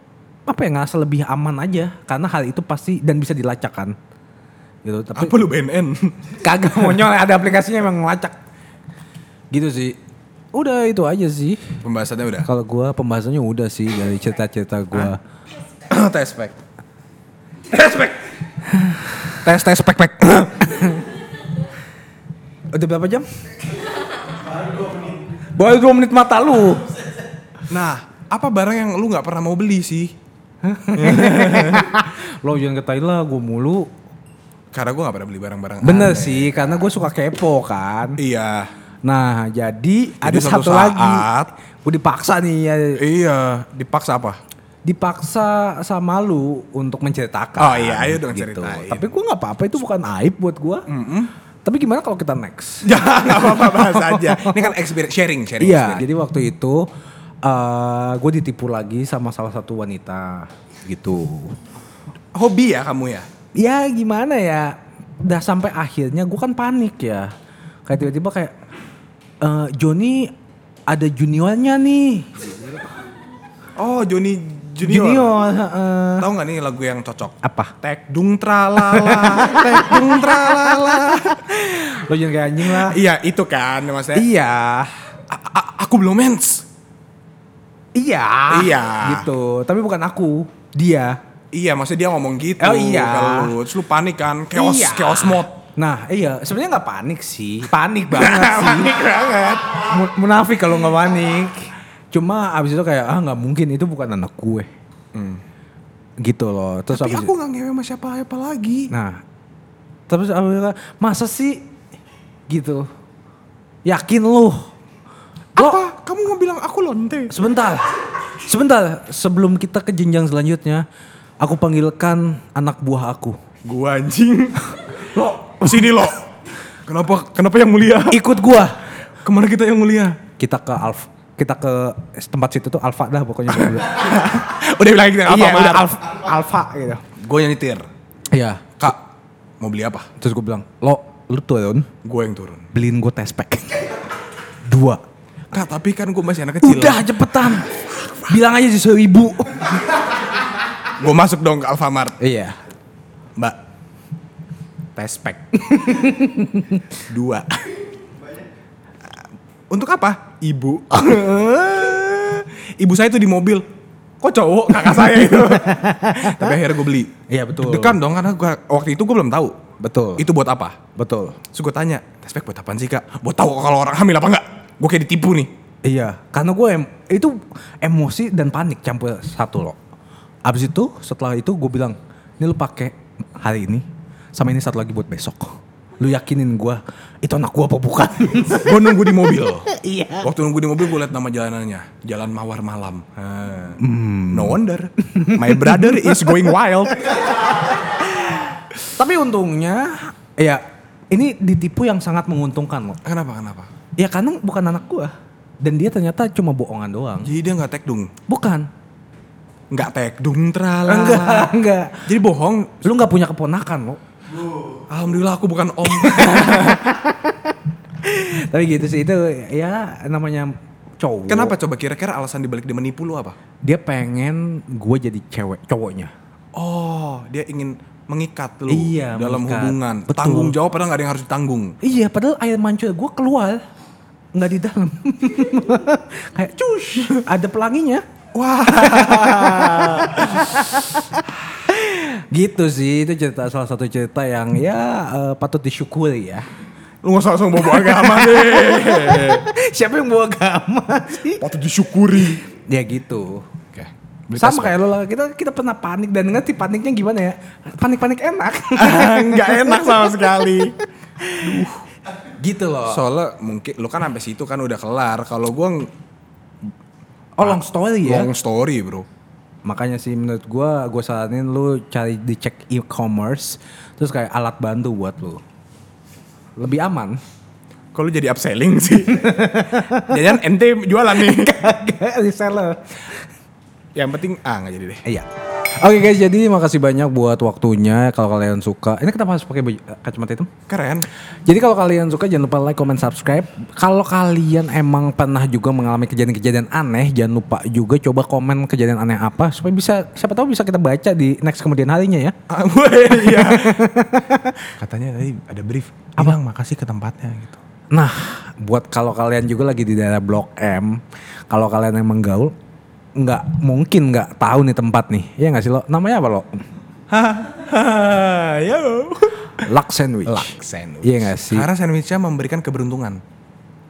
Speaker 4: apa ya ngerasa lebih aman aja karena hal itu pasti dan bisa dilacakkan. Gitu. Tapi
Speaker 2: apa lu BNN
Speaker 4: Kagak monyol ada aplikasinya emang ngelacak. Gitu sih. Udah itu aja sih.
Speaker 2: pembahasannya udah
Speaker 4: Kalau gua pembahasannya udah sih dari cerita-cerita gua.
Speaker 2: tes pack tes pack tes tes pack pack
Speaker 4: Udah berapa jam? Baru 2 menit mata lu.
Speaker 2: Nah, apa barang yang lu nggak pernah mau beli sih?
Speaker 4: Lo jangan ketain lah gua mulu.
Speaker 2: Karena gue nggak pernah beli barang-barang.
Speaker 4: Bener
Speaker 2: aneh.
Speaker 4: sih, karena gue suka kepo kan.
Speaker 2: Iya,
Speaker 4: Nah, jadi, ada
Speaker 2: suatu
Speaker 4: satu lagi.
Speaker 2: saat-
Speaker 4: Gue dipaksa nih ya.
Speaker 2: iya. Dipaksa apa?
Speaker 4: Dipaksa sama lu untuk menceritakan.
Speaker 2: Oh iya, ayo dong
Speaker 4: gitu.
Speaker 2: ceritain.
Speaker 4: Tapi gue nggak apa-apa itu bukan aib buat gue. Tapi gimana kalau kita next?
Speaker 2: Ya nggak apa-apa bahas aja. Ini kan experience sharing, sharing.
Speaker 4: Iya.
Speaker 2: experience.
Speaker 4: Jadi waktu itu eh gue ditipu lagi sama salah satu wanita gitu.
Speaker 2: Hobi ya kamu ya?
Speaker 4: Ya gimana ya? Udah sampai akhirnya gue kan panik ya. Kayak tiba-tiba kayak eh Joni ada juniornya nih.
Speaker 2: Oh, Joni Junior.
Speaker 4: Junior, heeh.
Speaker 2: Tahu nggak nih lagu yang cocok?
Speaker 4: Apa?
Speaker 2: Tek dung tralala, tek dung tralala.
Speaker 4: Lo jangan kayak anjing lah.
Speaker 2: Iya itu kan maksudnya.
Speaker 4: Iya.
Speaker 2: A- a- aku belum mens.
Speaker 4: Iya.
Speaker 2: Iya.
Speaker 4: Gitu. Tapi bukan aku, dia.
Speaker 2: Iya maksudnya dia ngomong gitu.
Speaker 4: Oh, iya.
Speaker 2: Kalau lu, terus lu panik kan, chaos,
Speaker 4: Iya.
Speaker 2: chaos mode.
Speaker 4: Nah, iya, sebenarnya nggak panik sih. Panik banget sih.
Speaker 2: panik banget.
Speaker 4: Mu- Munafik kalau nggak panik. Cuma abis itu kayak ah nggak mungkin itu bukan anak gue. Hmm. Gitu loh. Terus
Speaker 2: Tapi
Speaker 4: abis
Speaker 2: aku nggak ngewe sama siapa apa lagi.
Speaker 4: Nah, terus aku bilang, masa sih gitu? Yakin lu? Lo
Speaker 2: Apa? Kamu nggak bilang aku lonte?
Speaker 4: sebentar, sebentar sebelum kita ke jenjang selanjutnya, aku panggilkan anak buah aku.
Speaker 2: Gua anjing. lo, sini lo. Kenapa? Kenapa yang mulia?
Speaker 4: Ikut gua.
Speaker 2: Kemana kita yang mulia?
Speaker 4: Kita ke Alf, kita ke tempat situ tuh Alfa dah pokoknya.
Speaker 2: udah bilang kita apa?
Speaker 4: Iya,
Speaker 2: Mar?
Speaker 4: udah Alf- Alfa gitu.
Speaker 2: Gue yang nyetir.
Speaker 4: Iya.
Speaker 2: Kak, mau beli apa?
Speaker 4: Terus gue bilang, lo lu turun,
Speaker 2: Gue yang turun.
Speaker 4: beliin gue tespek. Dua.
Speaker 2: Kak, tapi kan gue masih anak kecil.
Speaker 4: Udah cepetan. Bilang aja sih seribu.
Speaker 2: Gue masuk dong ke Alfamart.
Speaker 4: Iya.
Speaker 2: Mbak, tespek. Dua. Untuk apa? Ibu. Ibu saya itu di mobil. Kok cowok kakak saya itu? Tapi akhirnya gue beli.
Speaker 4: Iya, betul.
Speaker 2: Dekan dong karena gua, waktu itu gue belum tahu.
Speaker 4: Betul.
Speaker 2: Itu buat apa?
Speaker 4: Betul.
Speaker 2: Terus gue tanya, tespek buat apaan sih kak? Buat tahu kalau orang hamil apa enggak? Gue kayak ditipu nih.
Speaker 4: Iya, karena gue em- itu emosi dan panik campur satu loh. Abis itu setelah itu gue bilang, ini lu pakai hari ini, sama ini satu lagi buat besok. Lu yakinin gue, itu anak gue apa bukan?
Speaker 2: gue nunggu di mobil. Iya. Waktu nunggu di mobil gue liat nama jalanannya, Jalan Mawar Malam.
Speaker 4: Hmm.
Speaker 2: No wonder, my brother is going wild.
Speaker 4: Tapi untungnya, ya ini ditipu yang sangat menguntungkan loh.
Speaker 2: Kenapa kenapa?
Speaker 4: Ya karena bukan anak gue, dan dia ternyata cuma bohongan doang.
Speaker 2: Jadi dia nggak tekdung,
Speaker 4: Bukan,
Speaker 2: nggak tekdung tralala.
Speaker 4: enggak, enggak.
Speaker 2: Jadi bohong.
Speaker 4: Lu nggak punya keponakan loh.
Speaker 2: Alhamdulillah aku bukan om. Eh,
Speaker 4: Tapi gitu sih itu ya namanya cowok.
Speaker 2: kenapa coba kira-kira alasan dibalik dia menipu lu apa?
Speaker 4: dia pengen gue jadi cewek cowoknya
Speaker 2: Oh, dia ingin mengikat lu
Speaker 4: Iya,
Speaker 2: dalam
Speaker 4: mengikat.
Speaker 2: hubungan.
Speaker 4: Betul.
Speaker 2: Tanggung jawab padahal nggak ada yang harus ditanggung.
Speaker 4: iya padahal air mancur gue keluar nggak di dalam kayak cus ada pelanginya
Speaker 2: Wah,
Speaker 4: gitu sih itu cerita salah satu cerita yang ya eh, patut disyukuri ya
Speaker 2: lu nggak usah langsung bawa agama deh.
Speaker 4: siapa yang bawa agama sih
Speaker 2: Patut disyukuri.
Speaker 4: ya gitu
Speaker 2: Oke.
Speaker 4: sama kayak lo lah kita kita pernah panik dan ngerti paniknya gimana ya panik panik enak
Speaker 2: nggak enak sama sekali.
Speaker 4: gitu loh
Speaker 2: Soalnya mungkin lu kan sampai situ kan udah kelar. Kalau gua ng-
Speaker 4: oh long story ya
Speaker 2: long story, Bro.
Speaker 4: Makanya sih menurut gua gua saranin lu cari dicek e-commerce terus kayak alat bantu buat lu. Lebih aman.
Speaker 2: Kalau jadi upselling sih. Jangan ente jualan nih.
Speaker 4: Kayak reseller.
Speaker 2: Yang penting ah nggak jadi deh.
Speaker 4: Iya. Oke guys, jadi makasih banyak buat waktunya. Kalau kalian suka, ini kenapa harus pakai baju- eh, kacamata itu?
Speaker 2: Keren.
Speaker 4: Jadi kalau kalian suka jangan lupa like, comment, subscribe. Kalau kalian emang pernah juga mengalami kejadian-kejadian aneh, jangan lupa juga coba komen kejadian aneh apa supaya bisa siapa tahu bisa kita baca di next kemudian harinya ya.
Speaker 2: Ah, boleh, iya. Katanya tadi ada brief. Abang makasih ke tempatnya gitu.
Speaker 4: Nah, buat kalau kalian juga lagi di daerah Blok M, kalau kalian emang gaul, nggak mungkin nggak tahu nih tempat nih. Iya nggak sih lo? Namanya apa lo?
Speaker 2: Hahaha, Ah, yo.
Speaker 4: Luck Sandwich.
Speaker 2: Luck sandwich.
Speaker 4: Iya nggak sih?
Speaker 2: Karena sandwichnya memberikan keberuntungan.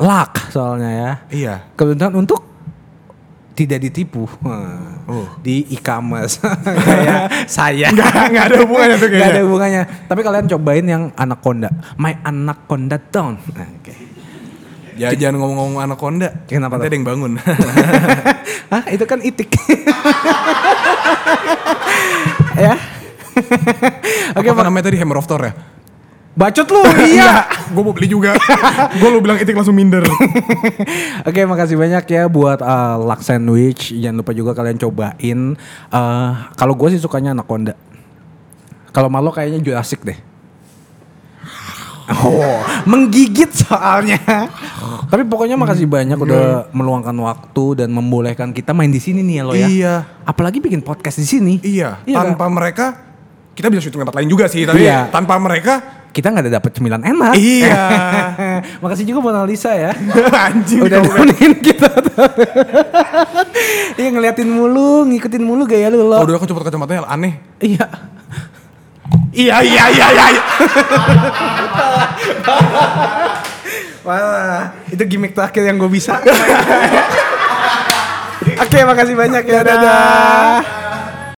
Speaker 4: Luck soalnya ya.
Speaker 2: Iya.
Speaker 4: Kebetulan untuk tidak ditipu Hmm.
Speaker 2: Oh.
Speaker 4: di e-commerce kayak saya
Speaker 2: Nggak, nggak ada hubungannya tuh
Speaker 4: Nggak ada
Speaker 2: kayaknya.
Speaker 4: hubungannya tapi kalian cobain yang anak konda my anak konda down Nah, oke
Speaker 2: Ya, jangan ngomong-ngomong anaconda.
Speaker 4: Kenapa tuh?
Speaker 2: Nanti ada yang bangun.
Speaker 4: Hah, itu kan itik. ya. Oke,
Speaker 2: Oke, apa
Speaker 4: Pak.
Speaker 2: namanya tadi Hammer of Thor ya?
Speaker 4: Bacot lu.
Speaker 2: Iya,
Speaker 4: iya.
Speaker 2: gue mau beli juga. gue lu bilang itik langsung minder.
Speaker 4: Oke, makasih banyak ya buat eh, Luck Sandwich. Jangan lupa juga kalian cobain. eh kalau gue sih sukanya Anaconda. Kalau malu kayaknya Jurassic deh. Oh, menggigit soalnya. Tapi pokoknya makasih banyak
Speaker 2: Iya.
Speaker 4: udah meluangkan waktu dan membolehkan kita main di sini nih ya lo ya.
Speaker 2: Iya.
Speaker 4: Apalagi bikin podcast di sini.
Speaker 2: Iya,
Speaker 4: kan?
Speaker 2: tanpa mereka kita bisa syuting tempat lain juga sih, tapi
Speaker 4: Iya.
Speaker 2: tanpa mereka
Speaker 4: kita nggak ada dapat cemilan enak.
Speaker 2: Iya.
Speaker 4: makasih juga buat Alisa ya.
Speaker 2: anjing.
Speaker 4: udah
Speaker 2: kamu.
Speaker 4: nemenin kita. Iya ngeliatin mulu, ngikutin mulu gaya lu
Speaker 2: Kalau
Speaker 4: lo.
Speaker 2: dulu aku coba kacamatanya aneh.
Speaker 4: Iya.
Speaker 2: Iya, iya, iya, iya. iya.
Speaker 4: Wah, itu gimmick terakhir yang gue bisa. Oke, makasih banyak ya. Dadah.